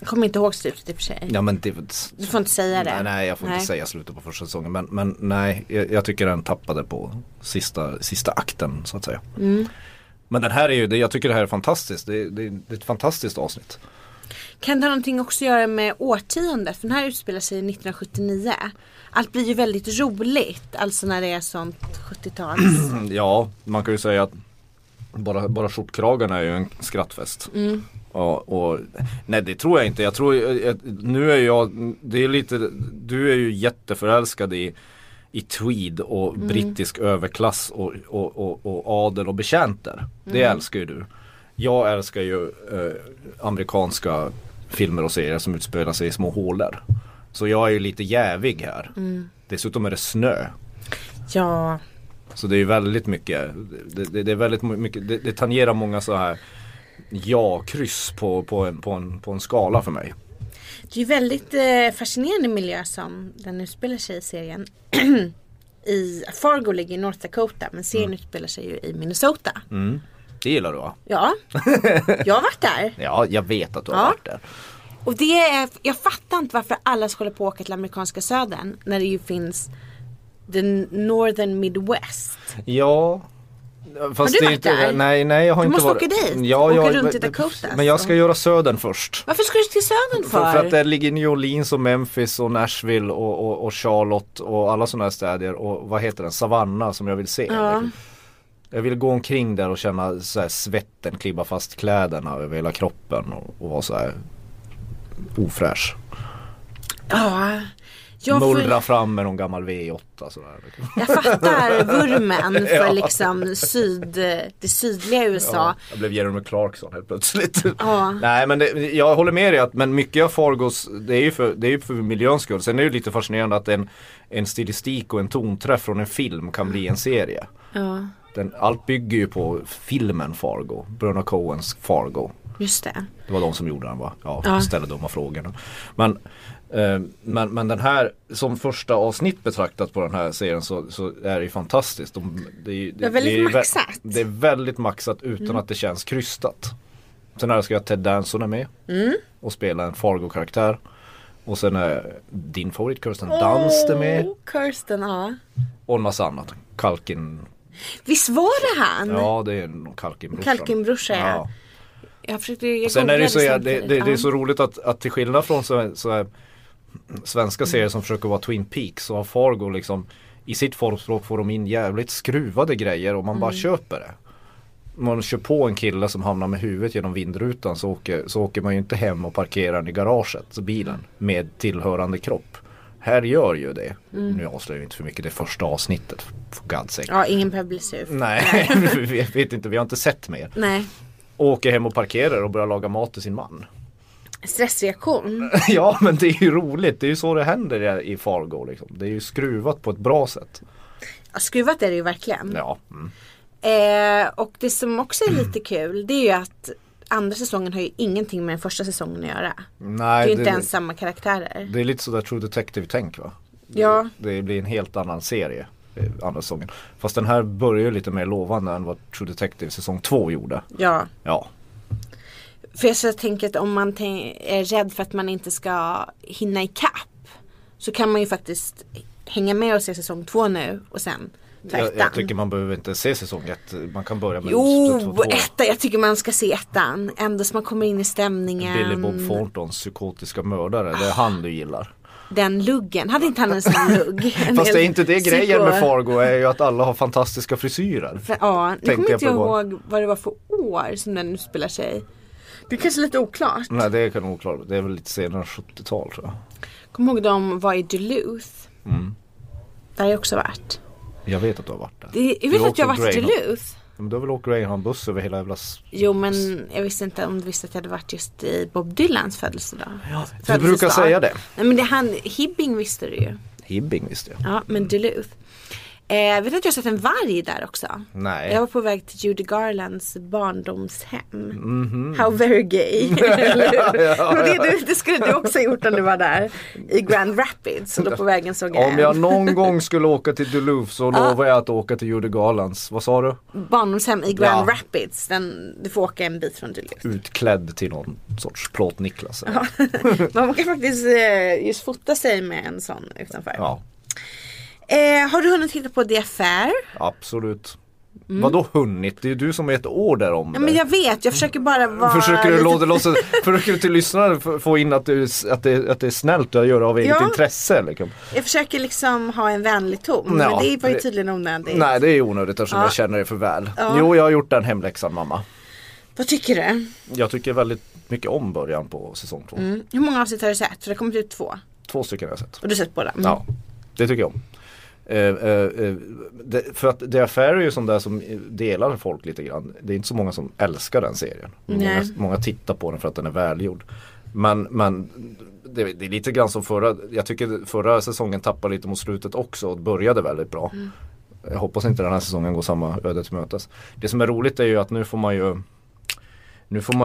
S2: Jag kommer inte ihåg slutet i och för sig.
S3: Ja men det,
S2: Du får inte säga det.
S3: Nej, nej jag får inte säga slutet på första säsongen. Men, men nej, jag, jag tycker den tappade på sista, sista akten så att säga.
S2: Mm.
S3: Men den här är ju, det, jag tycker det här är fantastiskt. Det, det, det är ett fantastiskt avsnitt.
S2: Kan det ha någonting också att göra med årtiondet? För den här utspelar sig 1979. Allt blir ju väldigt roligt. Alltså när det är sånt 70-tals.
S3: Mm, Ja, man kan ju säga att bara, bara skjortkragarna är ju en skrattfest. Ja, och, nej det tror jag inte. Jag tror, jag- jag- nu är jag, det är lite, du är ju jätteförälskad i i tweed och brittisk överklass och, och, och, och adel och betjänter. Det älskar ju du. Jag älskar ju eh, amerikanska filmer och serier som utspelar sig i små hålor. Så jag är ju lite jävig här. Dessutom är det snö.
S2: ja.
S3: Så det är ju väldigt mycket, det, det, det är väldigt mo- mycket, det, det tangerar många så här ja-kryss på, på, en, på, en, på en skala för mig.
S2: Det är ju väldigt eh, fascinerande miljö som den utspelar sig i serien. I Fargo ligger i North Dakota men
S3: Mm.
S2: serien utspelar sig ju i Minnesota.
S3: Det gillar du va?
S2: Ja, jag har varit där.
S3: Ja, jag vet att du har
S2: Ja.
S3: varit där.
S2: Och det är, jag fattar inte varför alla ska hålla på och åka till amerikanska södern när det ju finns the northern midwest.
S3: Ja. Fast
S2: du
S3: det är
S2: varit
S3: inte,
S2: där?
S3: Nej, nej jag har
S2: Du
S3: inte
S2: måste
S3: varit.
S2: åka dit,
S3: Ja,
S2: åka
S3: jag,
S2: runt i Dakota,
S3: Men jag
S2: så.
S3: ska göra södern först.
S2: Varför ska du till södern för?
S3: För, för att det ligger New Orleans och Memphis och Nashville och, och, och Charlotte och alla sådana här städer och vad heter den, Savannah som jag vill se.
S2: Ja.
S3: Jag vill gå omkring där och känna så här svetten klibba fast kläderna över hela kroppen och, och vara så här ofräsch.
S2: Ja, jag,
S3: Mullra
S2: får,
S3: fram med någon gammal V8 sådär. liksom.
S2: jag fattar vurmen för
S3: Ja.
S2: liksom syd, det sydliga USA.
S3: jag blev Jeremy Clarkson helt plötsligt.
S2: Ja.
S3: Nej men det, jag håller med dig att men mycket av Fargos det är ju för, det är ju för miljöns skull. Sen är det ju lite fascinerande att en, en stilistik och en tonträff från en film kan bli en serie.
S2: Ja,
S3: Den, allt bygger ju på filmen Fargo, Bruno Coens Fargo.
S2: just det.
S3: Det var de som gjorde den va? Ja,
S2: Ja.
S3: ställde dumma frågorna. Men, eh, men, men den här, som första avsnitt betraktat på den här serien så, så är det ju fantastiskt. De, det, är, ju-
S2: är väldigt
S3: ju vä-
S2: maxat. Mm.
S3: Det är väldigt maxat utan att det känns krystat. Sen här ska jag Ted Danson är med
S2: Mm.
S3: och spela en Fargo-karaktär. Och sen är din favorit Kirsten Dunst är med
S2: Åh, Oh, Kirsten, ja.
S3: och en massa annat. Kalkin,
S2: Visst var det han?
S3: ja det är någon Kalkin-brorsan.
S2: Kalkinbrorsa, ja. Jag försökte, jag
S3: Sen är det, så, det,
S2: googlade
S3: det, det,
S2: samtidigt.
S3: det är
S2: Ja.
S3: så roligt att, att till skillnad från så, så här, svenska serier som försöker vara Twin Peaks så har Fargo liksom i sitt formspråk får de in jävligt skruvade grejer och man bara köper det. Om man kör på en kille som hamnar med huvudet genom vindrutan så åker, så åker man ju inte hem och parkerar den i garaget, så bilen, med tillhörande kropp. Här gör ju det. Nu avslöjar vi inte för mycket det första avsnittet, for God's sake.
S2: Ja, ingen public surf.
S3: Nej, vi vet inte, vi har inte sett mer.
S2: Nej.
S3: Åker hem och parkerar och börjar laga mat till sin man.
S2: Stressreaktion.
S3: Ja men det är ju roligt, det är ju så det händer i i Fargo liksom. Det är ju skruvat på ett bra sätt.
S2: Ja, skruvat är det ju verkligen.
S3: Ja, mm.
S2: Eh, och det som också är lite kul det är ju att andra säsongen har ju ingenting med den första säsongen att göra. Det är
S3: Nej,
S2: ju
S3: det,
S2: inte ens samma karaktärer.
S3: det är lite sådär True Detective-tänk va?
S2: Ja,
S3: Det blir en helt annan serie, eh, andra säsongen. Fast den här börjar ju lite mer lovande än vad True Detective säsong två gjorde.
S2: ja.
S3: Ja,
S2: För jag så tänker att om man tän- är rädd för att man inte ska hinna ikapp så kan man ju faktiskt hänga med och se säsong två nu och sen
S3: Jag,
S2: tvärtan.
S3: jag tycker man behöver inte se säsong ett. Man kan börja med Studs
S2: Jo,
S3: och två.
S2: ettan. Jag tycker man ska se ettan. Ändå så man kommer in i stämningen.
S3: Billy Bob Thorntons psykotiska mördare. Det är han du gillar.
S2: Den luggen. Hade inte han en sån lugg? En
S3: Fast
S2: hel
S3: det är inte det grejen med
S2: psyko-
S3: Fargo är ju att alla har fantastiska frisyrer.
S2: För, ja, nu
S3: Tänkte
S2: kommer
S3: jag
S2: inte
S3: på
S2: jag
S3: igår.
S2: ihåg vad det var för år som den utspelar sig. Det är kanske lite oklart.
S3: Nej det kan nog oklart. Det är väl lite senare 70-tal tror jag.
S2: Kommer ihåg de var i Duluth.
S3: Mm.
S2: Där har jag också varit.
S3: Jag vet att du har varit där.
S2: Det, jag
S3: Du
S2: vet att jag har
S3: åkte
S2: varit i
S3: Greyhound.
S2: Duluth.
S3: Men du har väl åkt Greyhound buss över hela jävla... s-
S2: Jo men jag visste inte om du visste att jag hade varit just i Bob Dylans födelsedag.
S3: Du brukar säga det.
S2: Nej men det han, Hibbing visste du ju.
S3: Hibbing visste jag.
S2: Ja men Duluth. Eh, vet du att jag har sett en varg där också?
S3: Nej.
S2: Jag var på väg till Judy Garlands barndomshem.
S3: Mhm.
S2: How very gay. Eller hur? Men det, du- det skulle du också ha gjort om du var där i Grand Rapids och då på vägen såg jag,
S4: Om jag någon gång skulle åka till Duluth så lovar jag att åka till Judy Garlands. Vad sa du?
S2: en barndomshem i Grand
S3: Ja.
S2: Rapids. Den, du får åka en bit från Duluth.
S3: Utklädd till någon sorts plåt-Niklas. Ja.
S2: Man kan faktiskt eh, just fota sig med en sån utanför.
S3: ja,
S2: Eh, har du hunnit titta på The Affair?
S3: absolut. Vadå hunnit? Det är ju du som vet ord där om
S2: Mm. Ja,
S3: det.
S2: men jag vet, jag försöker bara vara
S3: Försöker du
S2: lite-
S3: låta, låta, försöker du till lyssnaren f- få in att, du, att, det, att det är snällt att göra av eget
S2: Ja.
S3: intresse? Liksom?
S2: Jag försöker liksom ha en vänlig ton.
S3: Ja,
S2: men det var ju
S3: det-
S2: tydligen onödigt.
S3: Nej det är onödigt eftersom
S2: Ja.
S3: jag känner dig för väl.
S2: Ja.
S3: Jo jag har gjort den hemläxan mamma.
S2: Vad tycker du?
S3: Jag tycker väldigt mycket om början på säsong två.
S2: Mm. Hur många avsnitt har du sett? För det har kommit ut två.
S3: Två stycken har jag sett.
S2: Och du har sett båda? Mm.
S3: Ja, det tycker jag om. Eh, eh, eh, det, för att The Affair är ju sån där som delar folk lite grann. Det är inte så många som älskar den serien. Många,
S2: Nej.
S3: många tittar på den för att den är välgjord. Men, men det, det är lite grann som förra, jag tycker förra säsongen tappade lite mot slutet också och började väldigt bra.
S2: Mm.
S3: Jag hoppas inte den här säsongen går samma öde till mötes. Det som är roligt är ju att nu får man ju Nu får man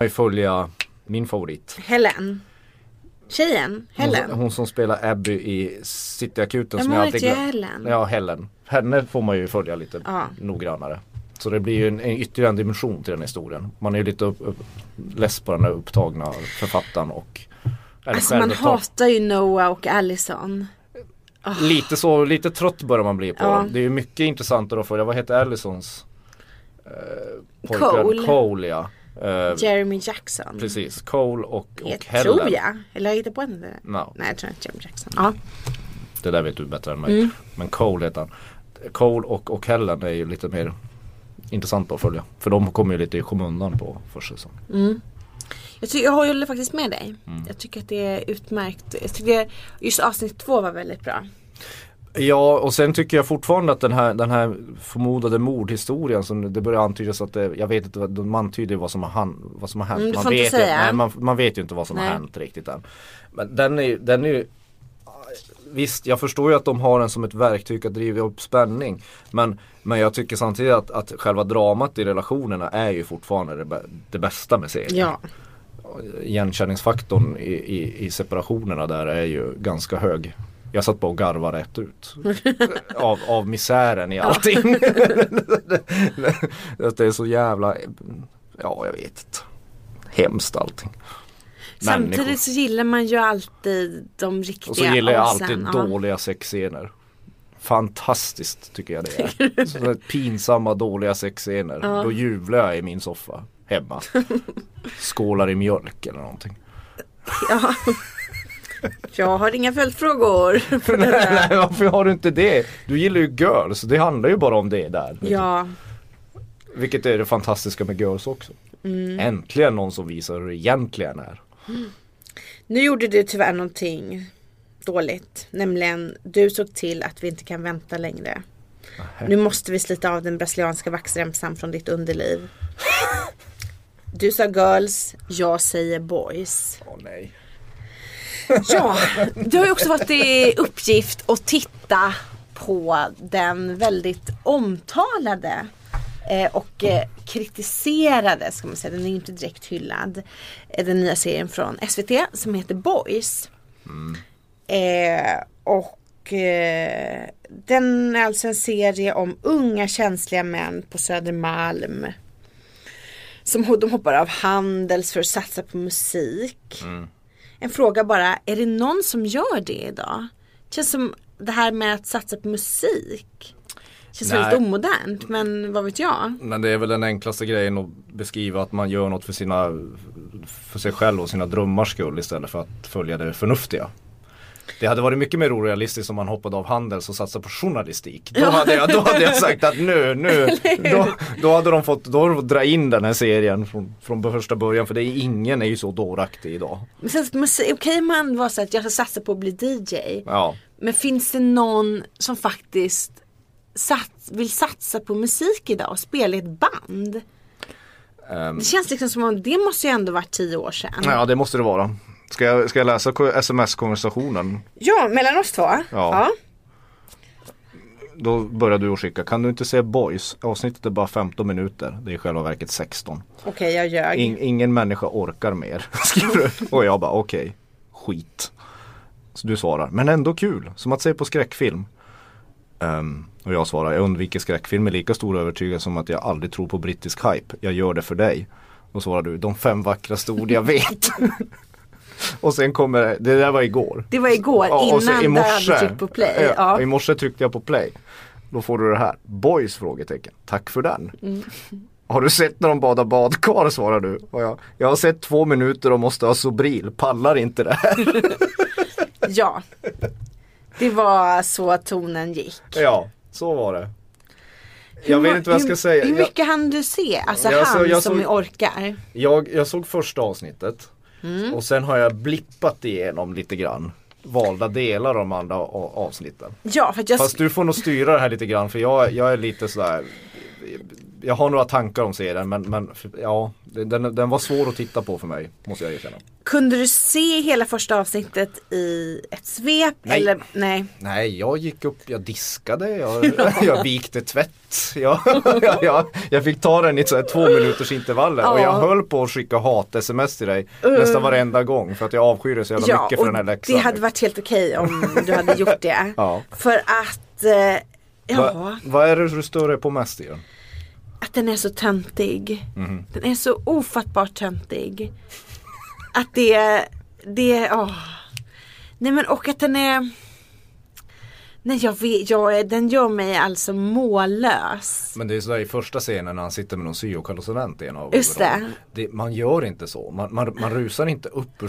S3: ju följa min favorit.
S2: Helen. Tjejen, Helen.
S3: Hon, hon som spelar Abby i Cityakuten
S2: Ja,
S3: som
S2: men
S3: jag
S2: hon
S3: alltid
S2: heter ju
S3: glöm-
S2: Helen.
S3: Ja, Helen. Henne får man ju följa lite
S2: Ja.
S3: noggrannare. Så det blir ju en, en ytterligare en dimension till den historien. Man är ju lite upp, upp, less på den här upptagna författaren och eller
S2: alltså man
S3: självupptag-
S2: hatar ju Noah och Allison.
S3: Lite så, lite trött börjar man bli på
S2: Ah. Ja.
S3: dem. Det är ju mycket intressantare att följa, vad heter Allisons eh, pojkvän?
S2: Cole.
S3: Cole ja. Eh,
S2: Jeremy Jackson.
S3: precis, Cole och,
S2: Jag
S3: och Helen.
S2: tror jag. Eller har jag hittat på en?
S3: No.
S2: Nej jag tror inte Jeremy Jackson. Ja.
S3: Det där vet du bättre än mig. Men Cole heter han. Cole och, och Helen är ju lite mer intressanta att följa. För de kommer ju lite i skymundan på första säsongen.
S2: Jag, tycker, jag håller faktiskt med dig.
S3: Mm.
S2: Jag tycker att det är utmärkt. Jag tycker just avsnitt två var väldigt bra.
S3: Ja och sen tycker jag fortfarande att den här, den här förmodade mordhistorien som det börjar antydas att det, jag vet inte, vad- de antyder vad som har, han, vad som har hänt.
S2: Mm, du
S3: man,
S2: får inte
S3: vet ju,
S2: säga.
S3: nej, man, man vet ju inte vad som
S2: Nej.
S3: har hänt riktigt än. Men den är, ju- den är ju Visst, jag förstår ju att de har den som ett verktyg att driva upp spänning. Men, men jag tycker samtidigt att, att själva dramat i relationerna är ju fortfarande det, bä- det bästa med serien.
S2: Ja.
S3: Igenkänningsfaktorn i, i, i separationerna där är ju ganska hög. Jag satt bara och garvade rätt ut. av, av misären i allting. att det är så jävla, ja jag vet inte. Hemskt allting. Människor.
S2: Samtidigt så gillar man ju alltid de riktiga
S3: Och så gillar jag
S2: asen.
S3: alltid
S2: Ja.
S3: dåliga sexscener. Fantastiskt tycker jag det är. Sådana här pinsamma dåliga sexscener. Då jublar jag i min soffa hemma. Skålar i mjölk eller någonting.
S2: Ja. Jag har inga följdfrågor.
S3: Nej, varför har du inte det? Du gillar ju Girls, det handlar ju bara om det där.
S2: Ja,
S3: Vilket är det fantastiska med Girls också. Äntligen någon som visar hur det egentligen är.
S2: nu gjorde du tyvärr någonting dåligt. Nämligen, du såg till att vi inte kan vänta längre. Nu måste vi slita av den brasilianska vaxremsan från ditt underliv. Du sa girls, jag säger boys.
S5: Åh nej.
S2: Ja, du har ju också varit i uppgift att titta på den väldigt omtalade eh, och eh, kritiserade, ska man säga, den är ju inte direkt hyllad, eh, den nya serien från SVT som heter Boys. Eh, och eh, den är alltså en serie om unga känsliga män på Södermalm. Som ho- de hoppar av Handels för att satsa på musik. En fråga bara, är det någon som gör det idag? Känns som det här med att satsa på musik. Känns
S3: Nej.
S2: väldigt omodernt men vad vet jag.
S3: Men det är väl den enklaste grejen att beskriva att man gör något för, sina, för sig själv och sina drömmars skull istället för att följa det förnuftiga. Det hade varit mycket mer orealistiskt om man hoppade av Handels och satsade på journalistik. Då hade jag, då hade jag sagt att nu, nu, då, då hade de fått, då hade de fått dra in den här serien från, från första början för det är, ingen är ju så dåraktig idag.
S2: Men sen, men se- Okej man var så att jag ska satsa på att bli DJ.
S3: Ja.
S2: Men finns det någon som faktiskt sats, vill satsa på musik idag och spela i ett band?
S3: Ehm.
S2: Det känns liksom som om det måste ju ändå varit tio år sedan. Ja,
S3: ja, det måste det vara. Ska jag, ska jag läsa ko- sms-konversationen?
S2: mellan oss två. Ja.
S3: Då börjar du att skicka, kan du inte se Boys? Avsnittet är bara 15 minuter, det är i själva verket 16.
S2: Okej jag ljög.
S3: In, ingen människa orkar mer, skriver du. Och jag bara okej, skit. Så du svarar, men ändå kul, som att se på skräckfilm. Ehm, och jag svarar, jag undviker skräckfilm med lika stor övertygelse som att jag aldrig tror på brittisk hype. Jag gör det för dig. Då svarar du, de fem vackraste ord jag vet. och sen kommer, det det där var igår.
S2: Det var igår
S3: Ja, och så
S2: innan
S3: i
S2: du
S3: morse-
S2: hade tryckt på play.
S3: Ja,
S2: Ja.
S3: I morse tryckte jag på play. Då får du det här. Boys? frågetecken. Tack för den.
S2: Mm.
S3: Har du sett när de badar badkar? svarar du. Och jag, jag har sett två minuter och måste ha Sobril. Pallar inte det här.
S2: ja. Det var så tonen gick.
S3: Ja, så var det. Jag vet inte vad jag ska
S2: hur,
S3: säga.
S2: Hur
S3: Jag,
S2: mycket hann du se? Alltså
S3: Jag
S2: han
S3: såg- jag
S2: som
S3: såg-
S2: orkar.
S3: jag, jag såg första avsnittet.
S2: Mm.
S3: Och sen har jag blippat igenom lite grann. Valda delar av de andra a- avsnitten.
S2: Ja för att jag
S3: Fast du får nog styra det här lite grann för jag, jag är lite sådär Jag har några tankar om serien men, men ja den, den var svår att titta på för mig måste jag erkänna.
S2: kunde du se hela första avsnittet i ett svep?
S3: Nej.
S2: Eller nej.
S3: Nej jag gick upp, jag diskade, jag, jag vikte tvätt. Jag, jag, jag, jag fick ta den i så här två minuters intervaller och jag höll på att skicka hat-sms till dig nästan varenda gång för att jag avskyr Uh. det så jävla mycket för
S2: och
S3: den här läxan.
S2: Det hade varit helt okej om du hade gjort det.
S3: Ja.
S2: För att, eh, ja,
S3: Va, vad är det du stör dig på mest i den?
S2: att den är så töntig.
S3: Mhm.
S2: Den är så ofattbart töntig. Att det, det, åh. Nej men och att den är, nej jag vet, jag, är- den gör mig alltså mållös.
S3: Men det är sådär i första scenen när han sitter med någon syokonsulent i en av
S2: Just det.
S3: huvudrollerna. det. Man gör inte så. Man, man, man rusar inte upp ur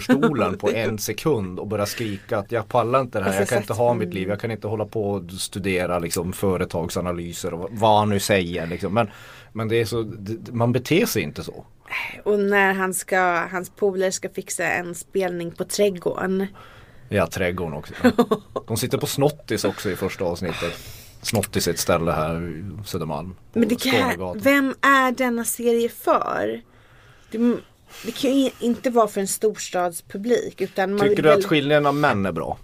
S3: stolen på en sekund och börjar skrika att jag pallar inte det
S2: Alltså,
S3: här. Jag kan inte ha
S2: Mm.
S3: mitt liv. Jag kan inte hålla på och studera liksom, företagsanalyser och vad han nu säger. Liksom. Men, men det är så, det, man beter sig inte så.
S2: Och när han ska, hans polare ska fixa en spelning på trädgården.
S3: Ja, trädgården också. De sitter på Snottis också i första avsnittet. Snottis är ett ställe här i Södermalm. på
S2: Men det kan,
S3: Skånegatan.
S2: vem är denna serie för? Det, det kan ju inte vara för en storstadspublik utan man
S3: Tycker
S2: vill
S3: du
S2: väl,
S3: att skillnaden av män är bra?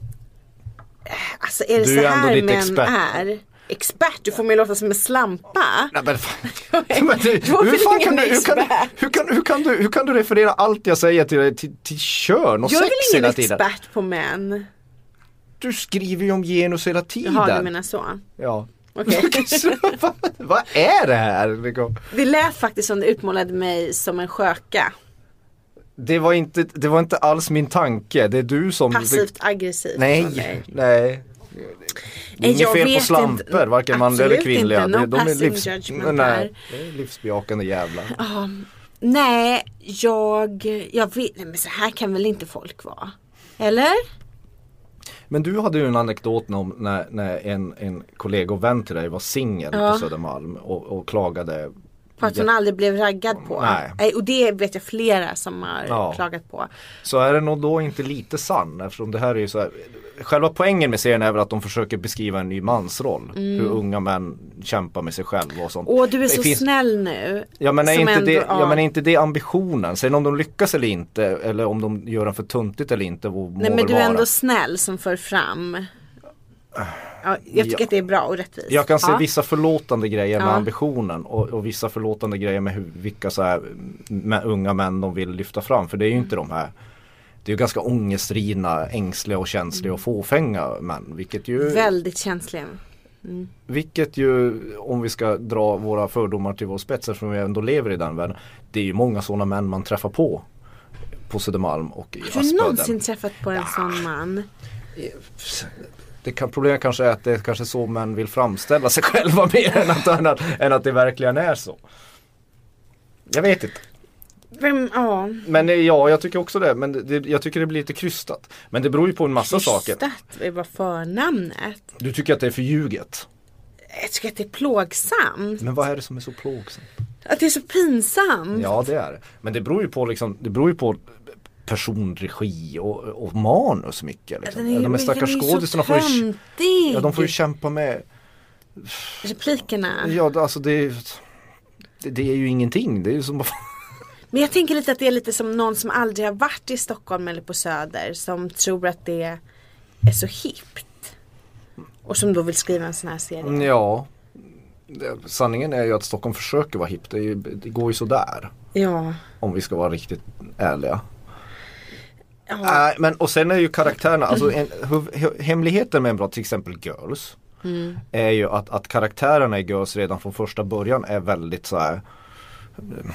S2: alltså är det
S3: du är
S2: så
S3: ändå
S2: här
S3: lite
S2: män
S3: expert.
S2: är? Expert? Du får mig låta som en slampa.
S3: Nej, men fan. Men det-
S2: Då
S3: hur, fan
S2: blir
S3: kan
S2: jag
S3: du, hur, kan,
S2: expert.
S3: hur, kan, hur, kan du, hur kan du referera allt jag säger till, till, till kön och
S2: Jag är
S3: sex
S2: väl ingen
S3: hela tiden?
S2: expert på män?
S3: Du skriver ju om genus hela tiden.
S2: Jaha du menar så.
S3: ja.
S2: Okej.
S3: Så vad, vad är det här? liksom?
S2: Det lät faktiskt som du utmålade mig som en
S3: Mm,
S2: sköka.
S3: Det var, inte, det var inte alls min tanke. Det är du som...
S2: Passivt aggressivt. av
S3: Nej,
S2: mig.
S3: nej. Det är
S2: Nej, jag
S3: inget fel på
S2: vet
S3: slampor,
S2: inte.
S3: varken manliga eller
S2: Absolut inte.
S3: kvinnliga.
S2: No
S3: Det- de är
S2: passing
S3: livs...
S2: judgment
S3: Nej,
S2: här.
S3: det är livsbejakande jävlar.
S2: Nej, jag, jag vet, nej men så här kan väl inte folk vara? Eller?
S3: Men du hade ju en anekdot om när, när en, en kollega och vän till dig var singel på Södermalm och, och klagade
S2: På att hon aldrig blev raggad på.
S3: Nej.
S2: Och det vet jag flera som har
S3: Ja.
S2: klagat på.
S3: Så är den nog då inte lite sann eftersom det här är ju så här Själva poängen med serien är väl att de försöker beskriva en ny mansroll. Hur unga män kämpar med sig själva och sånt.
S2: Mm. Åh du är
S3: Det
S2: så
S3: finns-
S2: snäll nu.
S3: Ja men, är
S2: Som
S3: inte
S2: ändå-
S3: det,
S2: ja.
S3: ja men är inte det ambitionen? Sen om de lyckas eller inte eller om de gör den för tuntigt eller inte må
S2: Nej men
S3: väl
S2: du är
S3: vara.
S2: ändå snäll som för fram. Ja, jag tycker
S3: Ja.
S2: att det är bra och rättvist.
S3: Jag kan se
S2: ja.
S3: vissa förlåtande grejer med
S2: Ja.
S3: ambitionen och, och vissa förlåtande grejer med hur, vilka så här, med unga män de vill lyfta fram. För det är ju inte de här Det är ju ganska ångestdrivna, ängsliga och känsliga och fåfänga män. Vilket ju,
S2: Väldigt känslig.
S3: vilket ju om vi ska dra våra fördomar till vår spets eftersom vi ändå lever i den världen. Det är ju många sådana män man träffar på. På Södermalm och i
S2: Har du någonsin
S3: Aspudden.
S2: träffat på en sån man?
S3: Det kan, problemet kanske är att det är kanske så män vill framställa sig själva mer än att, än, att, än att det verkligen är så. Jag vet inte.
S2: Vem, ja.
S3: Men eh, ja, jag tycker också det. Men det, jag tycker det blir lite krystat. Men det beror ju på en massa saker.
S2: Krystat är bara förnamnet.
S3: Du tycker att det är för ljuget.
S2: Jag tycker att det är plågsamt.
S3: Men vad är det som är så plågsamt?
S2: Att det är så pinsamt.
S3: Ja, det är det. Men det beror ju på liksom, det beror ju på personregi och, och manus mycket. Liksom.
S2: Den är,
S3: De här stackars skådisarna får ju,
S2: ju så
S3: ja, de får ju
S2: töntig.
S3: kämpa med
S2: Replikerna.
S3: Ja, det- alltså det är ju- det, det är ju ingenting. Det är ju som
S2: Men jag tänker lite att det är lite som någon som aldrig har varit i Stockholm eller på Söder som tror att det är så hippt. Och som då vill skriva en sån här serie.
S3: Ja. Det- Sanningen är ju att Stockholm försöker vara hippt. Det, är ju- det går ju sådär.
S2: Ja.
S3: Om vi ska vara riktigt ärliga.
S2: ja.
S3: Nej men och sen är ju karaktärerna, alltså en, hu- hu- hemligheten med en bra till exempel Girls. Är ju att, att karaktärerna i Girls redan från första början är väldigt så här. eh,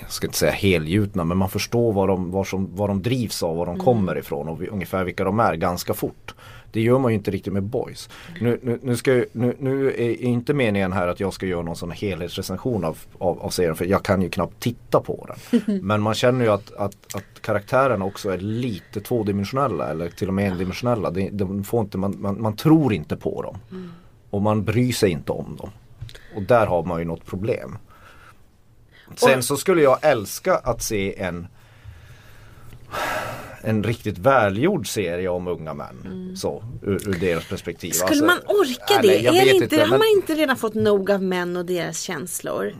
S3: Jag ska inte säga helgjutna men man förstår vad de, vad som, vad de drivs av, var de kommer ifrån och vi, ungefär vilka de är ganska fort. Det gör man ju inte riktigt med boys. Nu, nu, nu, ska, jag- nu, nu är är inte meningen här att jag ska göra någon sån helhetsrecension av, av, av serien för jag kan ju knappt titta på den. Men man känner ju att, att, att karaktärerna också är lite tvådimensionella eller till och med endimensionella. Det- De får inte, man, man, man tror inte på dem. Och man bryr sig inte om dem. Och där har man ju något problem. Sen så skulle jag älska att se en en riktigt välgjord serie om unga män. Så, ur, ur deras perspektiv.
S2: Mm. Skulle
S3: Alltså,
S2: man orka
S3: nej,
S2: det?
S3: nej, jag
S2: är det
S3: vet
S2: inte,
S3: men-
S2: Har man inte redan fått nog av män och deras känslor?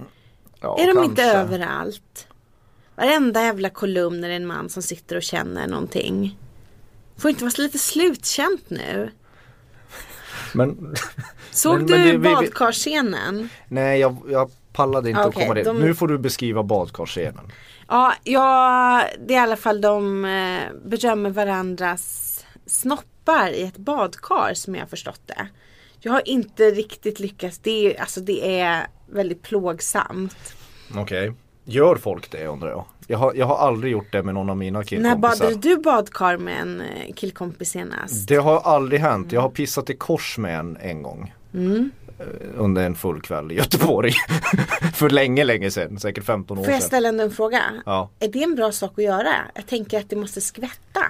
S3: ja,
S2: är de
S3: kanske.
S2: inte överallt? Varenda jävla kolumn är det en man som sitter och känner någonting. Får inte vara så lite slutkänt nu.
S3: Men
S2: Såg
S3: Men-
S2: du
S3: men det- vi- vi-
S2: badkarscenen?
S3: nej jag, jag pallade inte
S2: Okej,
S3: att komma dit.
S2: de-
S3: Nu får du beskriva badkarsscenen.
S2: Ja, ja, det är i alla fall de eh, berömmer varandras snoppar i ett badkar som jag har förstått det. Jag har inte riktigt lyckats. Det är, alltså, det är väldigt plågsamt.
S3: Okej. Gör folk det undrar jag? Jag har, jag har aldrig gjort det med någon av mina
S2: När
S3: killkompisar.
S2: badade du badkar med en eh, killkompis senast?
S3: Det har aldrig hänt.
S2: Mm.
S3: Jag har pissat i kors med en en gång. Eh, Under en full kväll i Göteborg. För länge, länge sedan. Säkert 15 år
S2: Får jag
S3: sedan.
S2: ställa ändå en fråga?
S3: Ja.
S2: Är det en bra sak att göra? Jag tänker att det måste skvätta.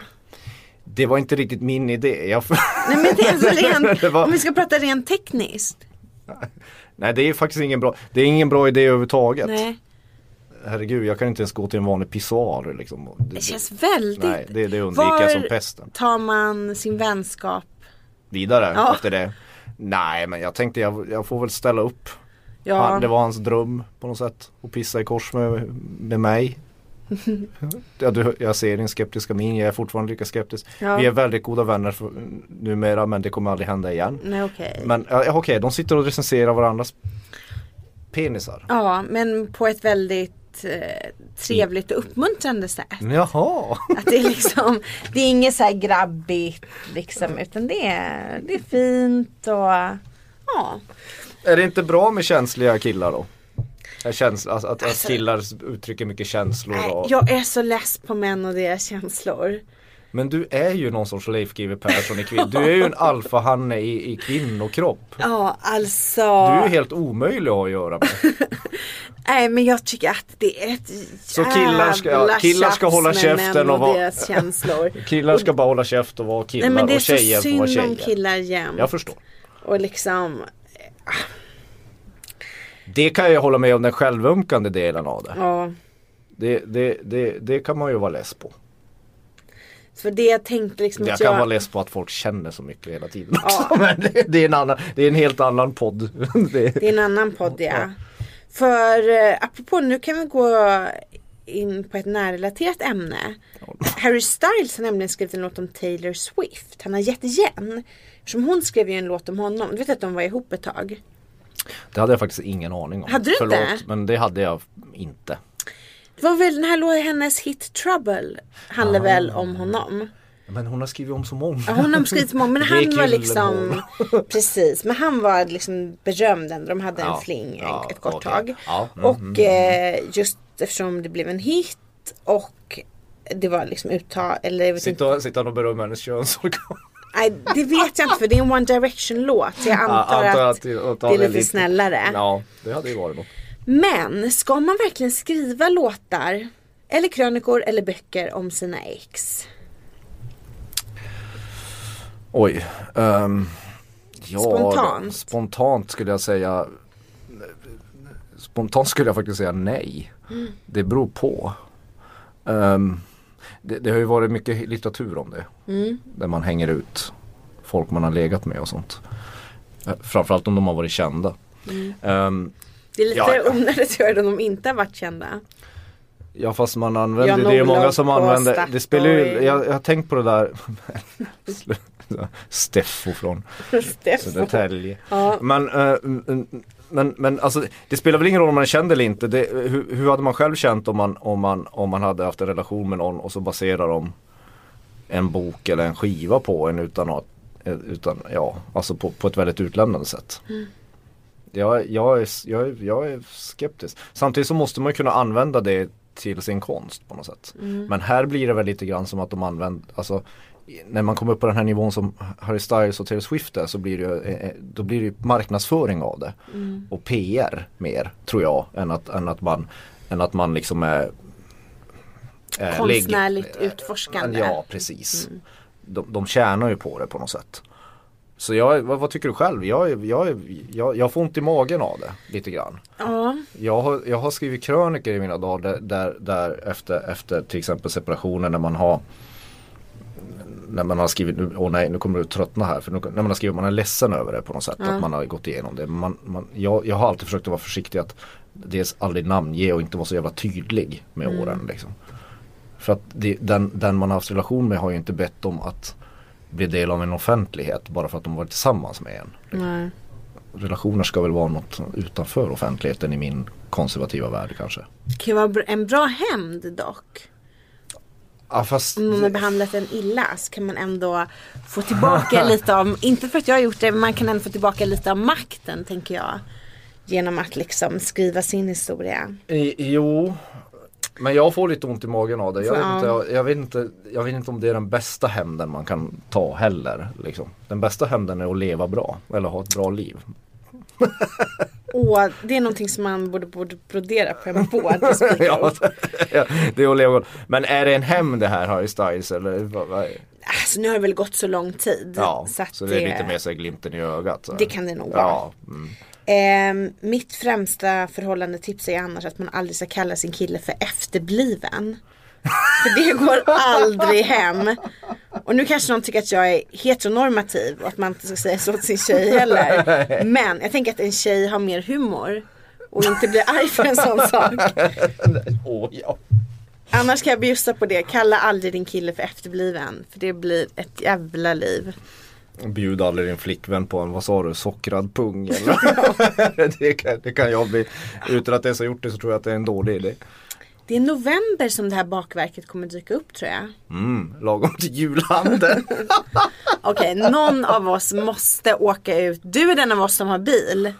S3: Det var inte riktigt min idé. Jag...
S2: Nej men det är alltså rent,
S3: Det var-
S2: om vi ska prata rent tekniskt.
S3: Nej det är faktiskt ingen bra, det är ingen bra idé överhuvudtaget.
S2: Nej,
S3: Herregud, jag kan inte ens gå till en vanlig pissoar liksom. Det-
S2: det känns väldigt.
S3: Nej, det, det undviker jag som
S2: Var
S3: pesten.
S2: tar man sin vänskap?
S3: Vidare
S2: Ja.
S3: efter det. Nej men jag tänkte jag, jag får väl ställa upp.
S2: Ja,
S3: Han, det var hans dröm på något sätt. Att pissa i kors med, med mig. ja, du, jag ser din skeptiska min, jag är fortfarande lika skeptisk.
S2: Ja.
S3: Vi är väldigt goda vänner för, numera men det kommer aldrig hända igen.
S2: nej okej.
S3: Men ja, okej, de sitter och recenserar varandras penisar.
S2: Ja, men på ett väldigt eh, trevligt och uppmuntrande sätt.
S3: Mm. Jaha!
S2: Att det är liksom, det är inget så här grabbigt liksom, utan det är, det är fint och ja.
S3: Är det inte bra med känsliga killar då? Är Käns att, att, att killar uttrycker mycket känslor
S2: Alltså- Nej,
S3: och...
S2: Jag är så less på män och deras känslor.
S3: Men du är ju någon sorts Leif GW Persson i kvinn. Du är ju en alfahanne i, i kvinnokropp.
S2: Ja, alltså.
S3: Du är ju helt omöjlig att ha att göra med.
S2: Nej, men jag tycker att det är ett
S3: Så killar ska- ja,
S2: jävla
S3: killar ska
S2: tjafs
S3: hålla
S2: med
S3: käften
S2: män
S3: och vara-
S2: deras känslor.
S3: Killar ska bara hålla käft och vara killar
S2: Nej men det är
S3: och tjejer
S2: så
S3: får vara
S2: synd om
S3: tjejer.
S2: killar jämt.
S3: Jag förstår.
S2: Och liksom
S3: Det kan jag hålla med om den självömkande delen av det.
S2: Ja.
S3: Det, det, det, det kan man ju vara less på.
S2: För det jag tänkte liksom
S3: Jag
S2: att
S3: kan vara
S2: jag...
S3: less på att folk känner så mycket hela tiden också. Men det, det, är en annan, det är en helt annan podd. Det,
S2: Det är en annan podd ja. För eh, apropå nu kan vi gå in på ett närrelaterat ämne. Harry Styles har nämligen skrivit en låt om Taylor Swift. Han har gett igen. Som hon skrev ju en låt om honom. Du vet att de var ihop ett tag.
S3: det hade jag faktiskt ingen aning om.
S2: Hade du inte?
S3: Förlåt, men det hade jag inte.
S2: Det var väl den här låten, hennes hit Trouble. Handlar väl om honom.
S3: Men hon har skrivit om så många.
S2: Ja, hon har skrivit många men
S3: Det är
S2: han var
S3: killen
S2: liksom Precis, men han var liksom berömd ändå. De hade en fling
S3: ja,
S2: ett kort
S3: okej.
S2: tag.
S3: Ja, mm,
S2: och eh, just eftersom det blev en hit och det var liksom uttal eller jag vet inte,
S3: Sitter han sitter han och berömmer hennes könsorgan?
S2: nej, det vet jag inte för det är en One Direction låt. Så jag antar, att, det är lite snällare.
S3: Ja, det hade ju varit något.
S2: Men ska man verkligen skriva låtar eller krönikor eller böcker om sina ex?
S3: Oj. ehm, ja,
S2: Spontant.
S3: Spontant skulle jag säga Spontant skulle jag faktiskt säga nej. Det beror på. Ehm, det, det har ju varit mycket litteratur om det.
S2: Mm.
S3: Där man hänger ut folk man har legat med och sånt. Eh, Framförallt om de har varit kända.
S2: Mm.
S3: Ehm,
S2: Det är lite
S3: Ja, ja.
S2: onödigt att göra det om de inte har varit kända.
S3: Ja fast man använder
S2: Jan
S3: det är ju många
S2: Olof
S3: som
S2: på
S3: använder
S2: Statoil.
S3: Det spelar ju, jag, jag har tänkt på det där Sluta. Steffo från Södertälje
S2: Ja.
S3: Alltså, men, eh, mm, men, men alltså det spelar väl ingen roll om man är känd eller inte det, hur, hur hade man själv känt om man, om, man, om man hade haft en relation med någon och så baserar de en bok eller en skiva på en utan att eh, utan, ja, alltså på, på ett väldigt utlämnande sätt. Jag, jag, är, jag, är, jag är skeptisk. Samtidigt så måste man ju kunna använda det till sin konst på något sätt. Men här blir det väl lite grann som att de använder, alltså i- när man kommer upp på den här nivån som Harry Styles och Taylor Swift är så blir det ju, eh, eh, då blir det ju marknadsföring av det. Och PR mer tror jag än att, än att, man, än att man liksom är eh, ligg-
S2: Konstnärligt utforskande.
S3: Ja, precis. De, de tjänar ju på det på något sätt. Så jag, vad, vad tycker du själv? Jag, är- jag, är- jag, jag får ont i magen av det lite grann.
S2: Ja.
S3: Jag har, jag har skrivit kröniker i mina dagar där, där, där efter, efter till exempel separationer när man har när man har skrivit, nu- åh nej nu kommer du tröttna här, för nu, när man har skrivit man är ledsen över det på något sätt, att man har gått igenom det. Man, man, jag, jag har alltid försökt att vara försiktig att dels aldrig namnge och inte vara så jävla tydlig med åren. Liksom. För att det, den, den man har haft relation med har ju inte bett om att bli del av en offentlighet bara för att de varit tillsammans med en
S2: Nej.
S3: relationer ska väl vara något utanför offentligheten i min konservativa värld kanske.
S2: Det kan ju vara br- en bra hämnd dock.
S3: Ja fast
S2: Om någon har behandlat en illa så kan man ändå få tillbaka lite av, inte för att jag har gjort det, men man kan ändå få tillbaka lite av makten tänker jag. Genom att liksom skriva sin historia.
S3: I- jo. Men jag får lite ont i magen av det. Jag vet,
S2: Ja.
S3: inte, jag, jag, vet inte, jag vet inte om det är den bästa hämnden man kan ta heller. Liksom. Den bästa hämnden är att leva bra eller ha ett bra liv.
S2: Och det är någonting som man borde, borde brodera på en båt. och spika
S3: ja,
S2: upp.
S3: det är att leva Men är det en hämnd det här Harry Styles? Eller? vad- vad-
S2: Alltså nu har det väl gått så lång tid.
S3: Ja, så,
S2: att
S3: det är lite mer så här glimten i ögat. så här.
S2: Det kan det nog vara.
S3: ja, mm.
S2: Ehm, mitt främsta förhållandetips är annars att man aldrig ska kalla sin kille för efterbliven. För det går aldrig hem. Och nu kanske någon tycker att jag är heteronormativ och att man inte ska säga så till sin tjej heller. Men jag tänker att en tjej har mer humor och inte blir arg för en sån sak.
S3: Åh, ja.
S2: Annars kan jag bjussa på det. Kalla aldrig din kille för efterbliven. För det blir ett jävla liv.
S3: Bjud aldrig din flickvän på en, vad sa du, sockrad pung eller? det, kan, det kan jag bli. Utan att ens ha gjort det så tror jag att det är en dålig idé.
S2: Det är november som det här bakverket kommer dyka upp tror jag.
S3: Mm, lagom till julhandeln.
S2: Okej, någon av oss måste åka ut. Du är den av oss som har bil.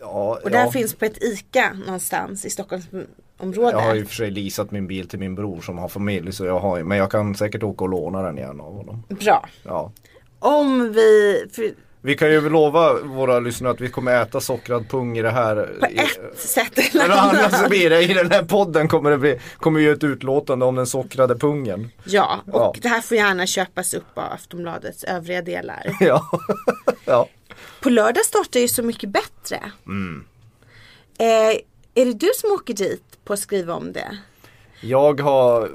S3: Ja,
S2: Och det här
S3: ja.
S2: finns på ett ICA någonstans i
S3: Jag har i
S2: Stockholmsområdet.
S3: och för sig leasat min bil till min bror som har familj så jag har ju- men jag kan säkert åka och låna den igen av honom.
S2: Bra.
S3: Ja.
S2: Om vi... För
S3: Vi kan ju väl lova våra lyssnare att vi kommer äta sockrad pung i det här.
S2: på
S3: i-
S2: ett sätt eller
S3: Eller annars så
S2: annat.
S3: blir det, i den här podden kommer det bli, kommer ju ett utlåtande om den sockrade pungen.
S2: Ja, och
S3: Ja.
S2: det här får gärna köpas upp av Aftonbladets övriga delar.
S3: Ja. ja. Mm.
S2: På lördag startar ju Så Mycket Bättre. Eh, är det du som åker dit på att skriva om det?
S3: Jag har,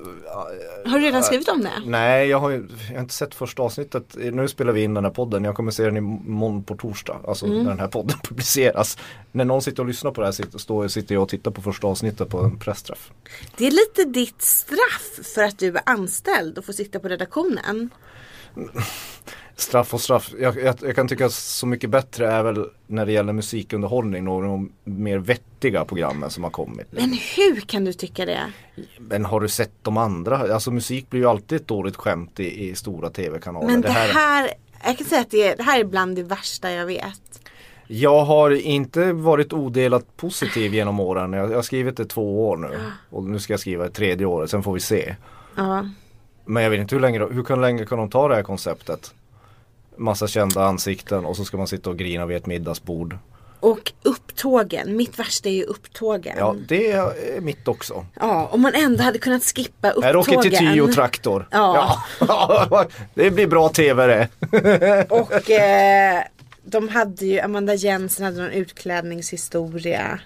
S2: Har du redan skrivit om det?
S3: nej jag har, ju- jag har inte sett första avsnittet. Nu spelar vi in den här podden, jag kommer se den imorgon på torsdag. Alltså när den här podden publiceras. När någon sitter och lyssnar på det här sitter, står, sitter jag och tittar på första avsnittet på en pressträff.
S2: Det är lite ditt straff för att du är anställd och får sitta på redaktionen.
S3: Straff och straff. Jag, jag, jag kan tycka att Så mycket bättre är väl när det gäller musikunderhållning några av de mer vettiga programmen som har kommit.
S2: Men hur kan du tycka det?
S3: Men har du sett de andra? Alltså musik blir ju alltid ett dåligt skämt i, i stora tv-kanaler.
S2: Men det
S3: Det här-
S2: här, jag kan säga att det, är, det här är bland det värsta jag vet.
S3: Jag har inte varit odelat positiv genom åren. Jag, jag har skrivit det två år nu. Och nu ska jag skriva det tredje året, sen får vi se.
S2: Ja.
S3: Men jag vet inte hur länge, hur kan, länge kan de ta det här konceptet? Massa kända ansikten och så ska man sitta och grina vid ett middagsbord.
S2: Och upptågen, mitt värsta är ju upptågen.
S3: Ja,
S2: Ja.
S3: det är mitt också.
S2: om man ändå hade kunnat skippa upptågen.
S3: Här åker till Tio och traktor.
S2: Ja.
S3: Ja. det blir bra tv det.
S2: Och eh, de hade ju, Amanda Jensen hade någon utklädningshistoria.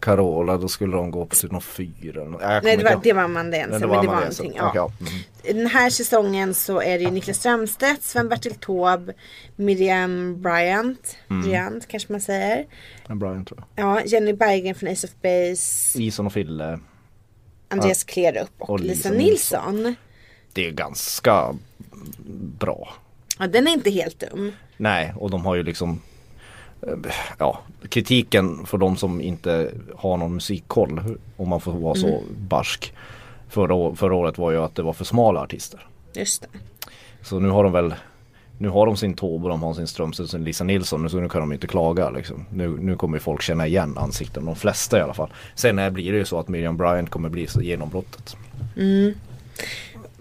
S3: Carola, då skulle de gå på typ någon fyra. eller nå- jag kommer
S2: Nej det
S3: inte
S2: var,
S3: ihåg.
S2: det var Amanda
S3: Nej,
S2: Jensen. Men det var
S3: Amanda Jensen.
S2: någonting. Ja.
S3: Okej, ja. Mm.
S2: Den här säsongen så är det ju Niklas Strömstedt, Sven-Bertil Taube, Miriam Bryant,
S3: Mm.
S2: Bryant kanske man säger.
S3: Men Brian tror jag.
S2: Ja, Jenny Berggren från Ace of Base,
S3: Ison och Fille.
S2: Andreas Klerup och,
S3: Och
S2: Lisa
S3: Lisa
S2: Nilsson.
S3: Det är ganska bra.
S2: Ja, den är inte helt dum.
S3: Nej, och de har ju liksom eh, Ja, kritiken för de som inte har någon musikkoll om man får vara
S2: Mm.
S3: så barsk förra, å- förra året var ju att det var för smala artister.
S2: Just det.
S3: Så nu har de väl Nu har de sin Taube och de har sin Strömstedt och sin Lisa Nilsson så nu kan de inte klaga liksom. nu, nu kommer ju folk känna igen ansikten, de flesta i alla fall. Sen eh, blir det ju så att Miriam Bryant kommer bli så genombrottet.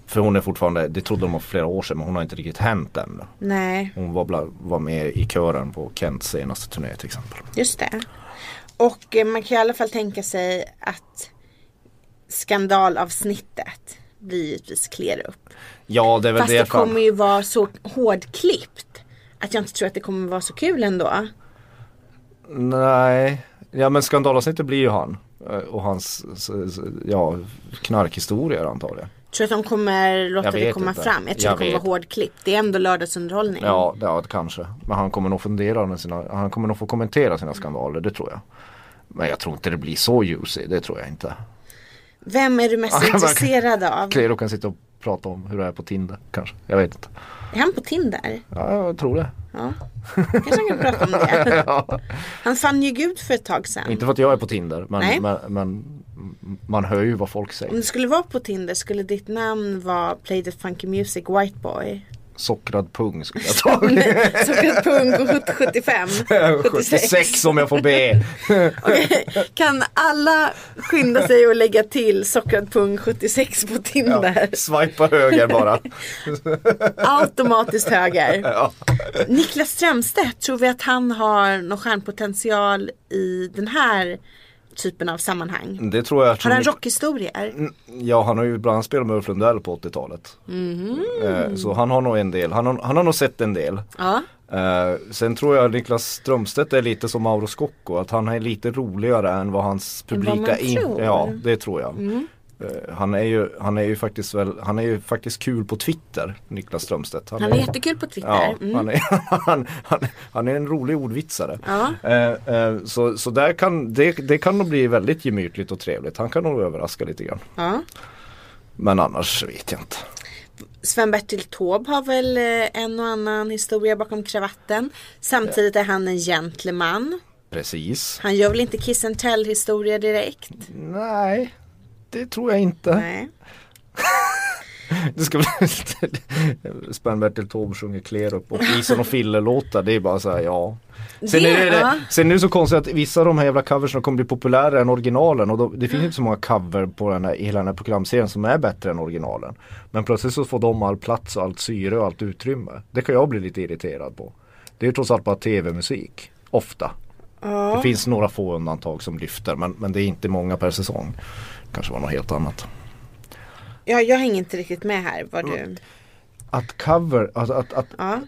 S3: För hon är fortfarande, det trodde de var för flera år sedan men hon har inte riktigt hänt än.
S2: Nej,
S3: Hon var, bland, var med i kören på Kents senaste turné till exempel.
S2: just det. Och eh, man kan i alla fall tänka sig att skandalavsnittet blir givetvis Klerup.
S3: Ja det är väl
S2: Fast
S3: det
S2: det
S3: fan-
S2: kommer ju vara så hårdklippt att jag inte tror att det kommer vara så kul ändå.
S3: Nej, ja men skandalavsnittet blir ju han. Eh, Och hans s- s- ja, knarkhistorier antar jag.
S2: Tror du att de kommer låta
S3: Jag
S2: det
S3: vet
S2: komma
S3: inte.
S2: fram? Jag tror
S3: Jag
S2: det kommer
S3: vet.
S2: vara hårdklippt. Det är ändå lördagsunderhållning.
S3: Ja, ja kanske. Men han kommer nog fundera med sina, han kommer nog få kommentera sina skandaler, det tror jag. Men jag tror inte det blir så juicy, det tror jag inte.
S2: Vem är du mest intresserad av?
S3: Klero kan sitta och prata om hur det är på Tinder kanske. Jag vet inte.
S2: Är han på Tinder?
S3: Ja, jag tror det.
S2: Ja. Kanske han kan prata om det. Han fann ju Gud för ett tag sedan.
S3: Inte för att jag är på Tinder,
S2: Nej. Mm.
S3: men, men, men man hör ju vad folk
S2: Om
S3: säger.
S2: du skulle vara på Tinder skulle ditt namn vara Play the Funky Music White Boy.
S3: Sockrad pung skulle jag ta.
S2: Sockrad pung och hut- 75.
S3: 76 om jag får be.
S2: Kan alla skynda sig och lägga till sockrad pung 76 på Tinder?
S3: Swipa höger bara.
S2: Automatiskt höger. Niklas Strömstedt, tror vi att han har någon stjärnpotential i den här typen av sammanhang?
S3: Det tror jag.
S2: Har han rockhistorier?
S3: Mm. Ja, han har ju bland annat spelat med Ulf Lundell på 80-talet.
S2: Mhm.
S3: Eh, Så han har nog en del. Han har, han har nog sett en del.
S2: Ja.
S3: Eh, sen tror jag Niklas Strömstedt är lite som Mauro Scocco, att han är lite roligare än vad hans
S2: vad
S3: publika
S2: man
S3: in-
S2: tror. Mm.
S3: Ja, det tror jag. Eh, han, är ju, han är ju faktiskt väl, han är ju faktiskt kul på Twitter, Niklas Strömstedt.
S2: Han är jättekul på Twitter.
S3: Ja,
S2: Mm.
S3: han, är, han, han, han är en rolig ordvitsare.
S2: Ja.
S3: Eh, eh, så så där kan, det, det kan nog bli väldigt gemytligt och trevligt. Han kan nog överraska lite grann.
S2: Ja.
S3: Men annars vet jag inte.
S2: Sven-Bertil Taube har väl eh, en och annan historia bakom kravatten. Samtidigt är han en gentleman.
S3: Precis.
S2: Han gör väl inte kiss and tell historia direkt?
S3: Nej, det tror jag inte.
S2: Nej.
S3: Det ska bli Sven-Bertil Taube sjunger Klerup och Ison och Fille-låtar. Det är bara så här, ja. Sen
S2: Det-
S3: är,
S2: ja.
S3: det, sen är det så konstigt att vissa av de här jävla coversen kommer bli populärare än originalen och då, det finns inte så många cover på den här, i hela den här programserien som är bättre än originalen. Men plötsligt så får de all plats och allt syre och allt utrymme. Det kan jag bli lite irriterad på. Det är ju trots allt bara tv-musik, ofta. Det finns några få undantag som lyfter men, men det är inte många per säsong. Kanske var något helt annat. Mm.
S2: Ja, jag hänger inte riktigt med här. Vad du...
S3: Att cover, alltså att, att,
S2: Ja.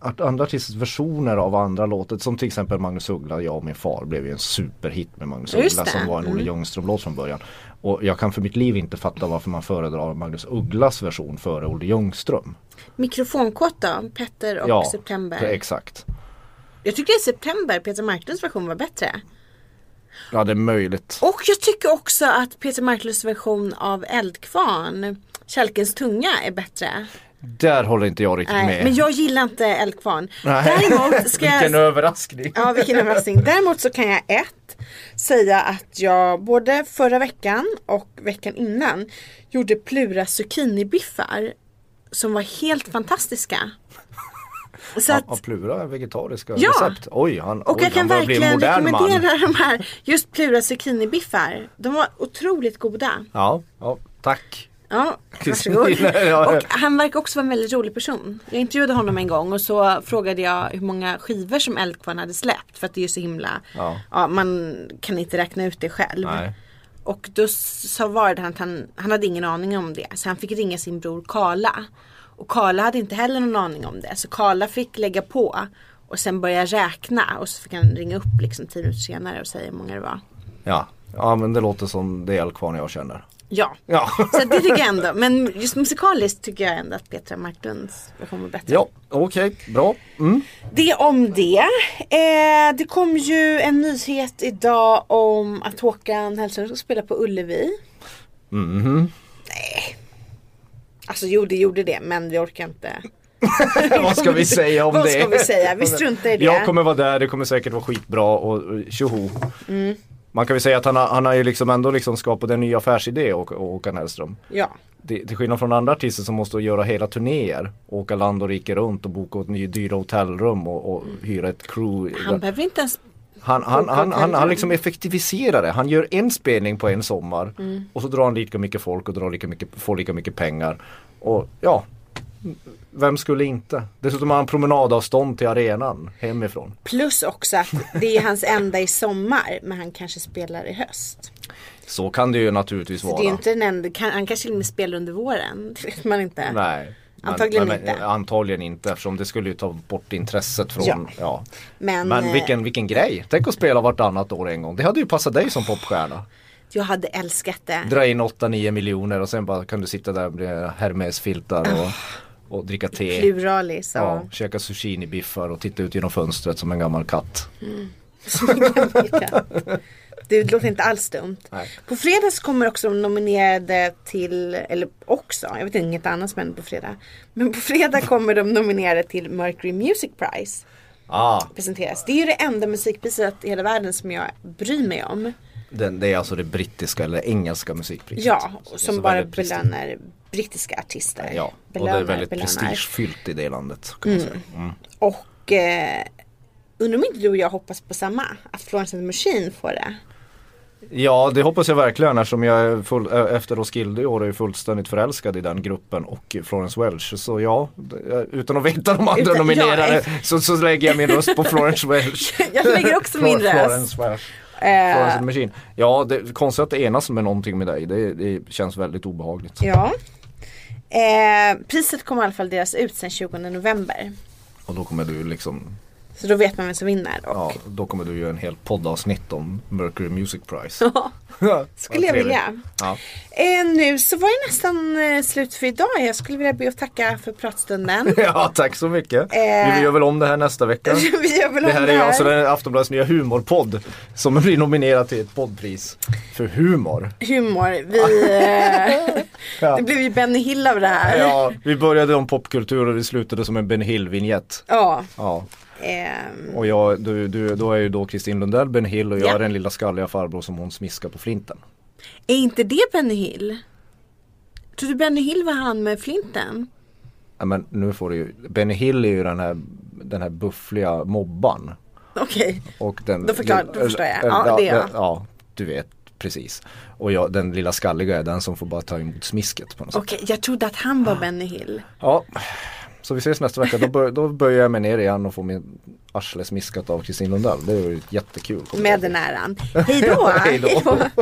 S3: art- andra artisters versioner av andra låtar. Som till exempel Magnus Uggla, jag och min far blev ju en superhit med Magnus
S2: Just
S3: Uggla
S2: det. Mm.
S3: som var en Olle Ljungström-låt från början. Och jag kan för mitt liv inte fatta varför man föredrar Magnus Ugglas version före Olle Ljungström.
S2: Mikrofonkåt då? Petter och September.
S3: exakt.
S2: jag tyckte i September Peter Marklunds version var bättre.
S3: Ja det är möjligt.
S2: Och jag tycker också att Peter Marklunds version av Eldkvarn, Kälkens tunga, är bättre.
S3: Där håller inte jag riktigt
S2: Nej,
S3: med.
S2: men jag gillar inte Eldkvarn. Däremot ska
S3: Vilken
S2: jag...
S3: överraskning.
S2: Ja, vilken överraskning. Däremot så kan jag ett, säga att jag både förra veckan och veckan innan gjorde Plura zucchinibiffar som var helt fantastiska. Så
S3: Ja,
S2: att,
S3: Plura är vegetariska
S2: Ja.
S3: recept. Oj, han,
S2: och
S3: oj,
S2: jag kan
S3: han börjar bli en
S2: verkligen
S3: modern
S2: rekommendera
S3: man.
S2: de här, just Plura zucchinibiffar. De var otroligt goda.
S3: Ja, ja, tack.
S2: Ja,
S3: Kristin,
S2: varsågod.
S3: ja.
S2: Och han verkar också vara en väldigt rolig person. Jag intervjuade honom en gång och så frågade jag hur många skivor som Eldkvarn hade släppt för att det är ju så himla, ja.
S3: Ja.
S2: man kan inte räkna ut det själv.
S3: Nej.
S2: Och då s- svarade han att han, han hade ingen aning om det så han fick ringa sin bror Karla. Och Karla hade inte heller någon aning om det så Karla fick lägga på och sen börja räkna och så fick han ringa upp liksom tio minuter senare och säga hur många det var.
S3: Ja. ja, men det låter som det Eldkvarn jag känner.
S2: Ja,
S3: Ja.
S2: så det tycker jag ändå. Men just musikaliskt tycker jag ändå att Petra Marklunds version var bättre.
S3: Ja, okej, bra. Mm.
S2: Det om det. Eh, det kom ju en nyhet idag om att Håkan Hellström ska spela på Ullevi. Mhm. Nej.
S3: Mhm.
S2: Alltså jo det gjorde det men vi orkar inte.
S3: Vad ska vi säga om
S2: Vad
S3: det?
S2: ska vi säga? Vi struntar i det.
S3: Jag kommer vara där, det kommer säkert vara skitbra och och tjoho.
S2: Mm.
S3: Man kan väl säga att han har, han har ju liksom ändå liksom skapat en ny affärsidé, Hå- Håkan Hellström.
S2: Ja.
S3: Det- Till skillnad från andra artister som måste göra hela turnéer, åka land och rike runt och boka ett ny, dyra hotellrum och, och hyra ett crew.
S2: Mm. Han behöver inte ens.
S3: Han, han,
S2: Boka
S3: han, han,
S2: hotellrum.
S3: han liksom effektiviserar det. Han gör en spelning på en sommar
S2: Mm.
S3: och så drar han lika mycket folk och drar lika mycket, får lika mycket pengar. Och ja, vem skulle inte? Dessutom har han promenadavstånd till arenan hemifrån.
S2: Plus också att det är hans enda i sommar men han kanske spelar i höst.
S3: Så kan det ju naturligtvis
S2: Så
S3: vara.
S2: det är ju inte den enda, kan- han kanske till och med spelar under våren. Det vet man inte.
S3: Nej.
S2: Antagligen
S3: men,
S2: inte.
S3: Antagligen inte eftersom det skulle ju ta bort intresset från,
S2: Ja.
S3: ja.
S2: Men, eh,
S3: Men vilken, vilken grej! Tänk att spela vartannat år en gång. Det hade ju passat dig som popstjärna.
S2: Jag hade älskat det.
S3: dra in 8-9 miljoner och sen bara kan du sitta där med Hermes-filtar
S2: Ah.
S3: och, och dricka te.
S2: Pluralis.
S3: Ja, käka sushinibiffar och titta ut genom fönstret som en gammal katt.
S2: Det låter inte alls dumt.
S3: Nej.
S2: På fredag så kommer också de nominerade till, eller också, jag vet inget annat som händer på fredag. Men på fredag kommer de nominerade till Mercury Music Prize
S3: Ah,
S2: presenteras. Det är ju det enda musikpriset i hela världen som jag bryr mig om.
S3: den, det är alltså det brittiska eller engelska musikpriset.
S2: Ja,
S3: Så- så
S2: som bara
S3: väldigt presti-
S2: belönar brittiska artister.
S3: Ja, och det
S2: Belönar,
S3: är väldigt
S2: belönar.
S3: prestigefyllt i det landet. Kan man säga. Mm.
S2: Och eh, undrar om inte du och jag hoppas på samma? Att Florence and the Machine får det.
S3: Ja, det hoppas jag verkligen eftersom jag är full, ö- efter Roskilde i år är jag fullständigt förälskad i den gruppen och Florence Welch. Så ja, d- utan att veta de andra
S2: Utan- ja,
S3: nominerade så, så lägger jag min röst på Florence Welch.
S2: Jag lägger också min
S3: Flor-
S2: röst.
S3: Florence Welch.
S2: Eh,
S3: Florence and the Machine. Ja, det är konstigt att det enas med någonting med dig. Det, det känns väldigt obehagligt.
S2: Ja. Eh, priset kommer i alla fall delas ut sen 20 november.
S3: Och då kommer du liksom,
S2: Så då vet man vem som vinner. Och
S3: ja, då kommer du göra en hel poddavsnitt om Mercury Music Prize.
S2: skulle jag
S3: Vad trevligt.
S2: vilja.
S3: Ja.
S2: Eh, nu så var det nästan eh, slut för idag. Jag skulle vilja be och tacka för pratstunden.
S3: ja, tack så mycket.
S2: Eh.
S3: Vi gör väl om det här nästa vecka.
S2: Vi gör väl
S3: Det
S2: om
S3: här är ju alltså den Aftonbladets nya humorpodd som blir nominerad till ett poddpris för humor.
S2: Humor. Vi, eh, det blev ju Benny Hill av det här.
S3: Ja, vi började om popkultur och vi slutade som en Ben Hill-vinjett.
S2: Ja,
S3: Ja,
S2: ehm,
S3: och jag, du, du, då är ju då Kristin Lundell Ben Hill och jag
S2: Ja.
S3: är den lilla skalliga farbror som hon smiskar på flinten.
S2: är inte det Benny Hill? Tror du Benny Hill var han med flinten?
S3: Ja, men nu får du ju, Benny Hill är ju den här, den här buffliga mobban.
S2: Okej.
S3: Och den,
S2: Då förklar- då förstår jag. Ja, det är jag.
S3: ja. ja, du vet precis. Och jag, den lilla skalliga är den som får bara ta emot smisket på något sätt.
S2: Okej, jag trodde att han var Benny Hill.
S3: Ja, så vi ses nästa vecka. Då, bör, då böjer jag mig ner igen och får min arsle smiskat av Kristin Lundell. Det är ju jättekul.
S2: Med den äran. Hej då!
S3: Hej då.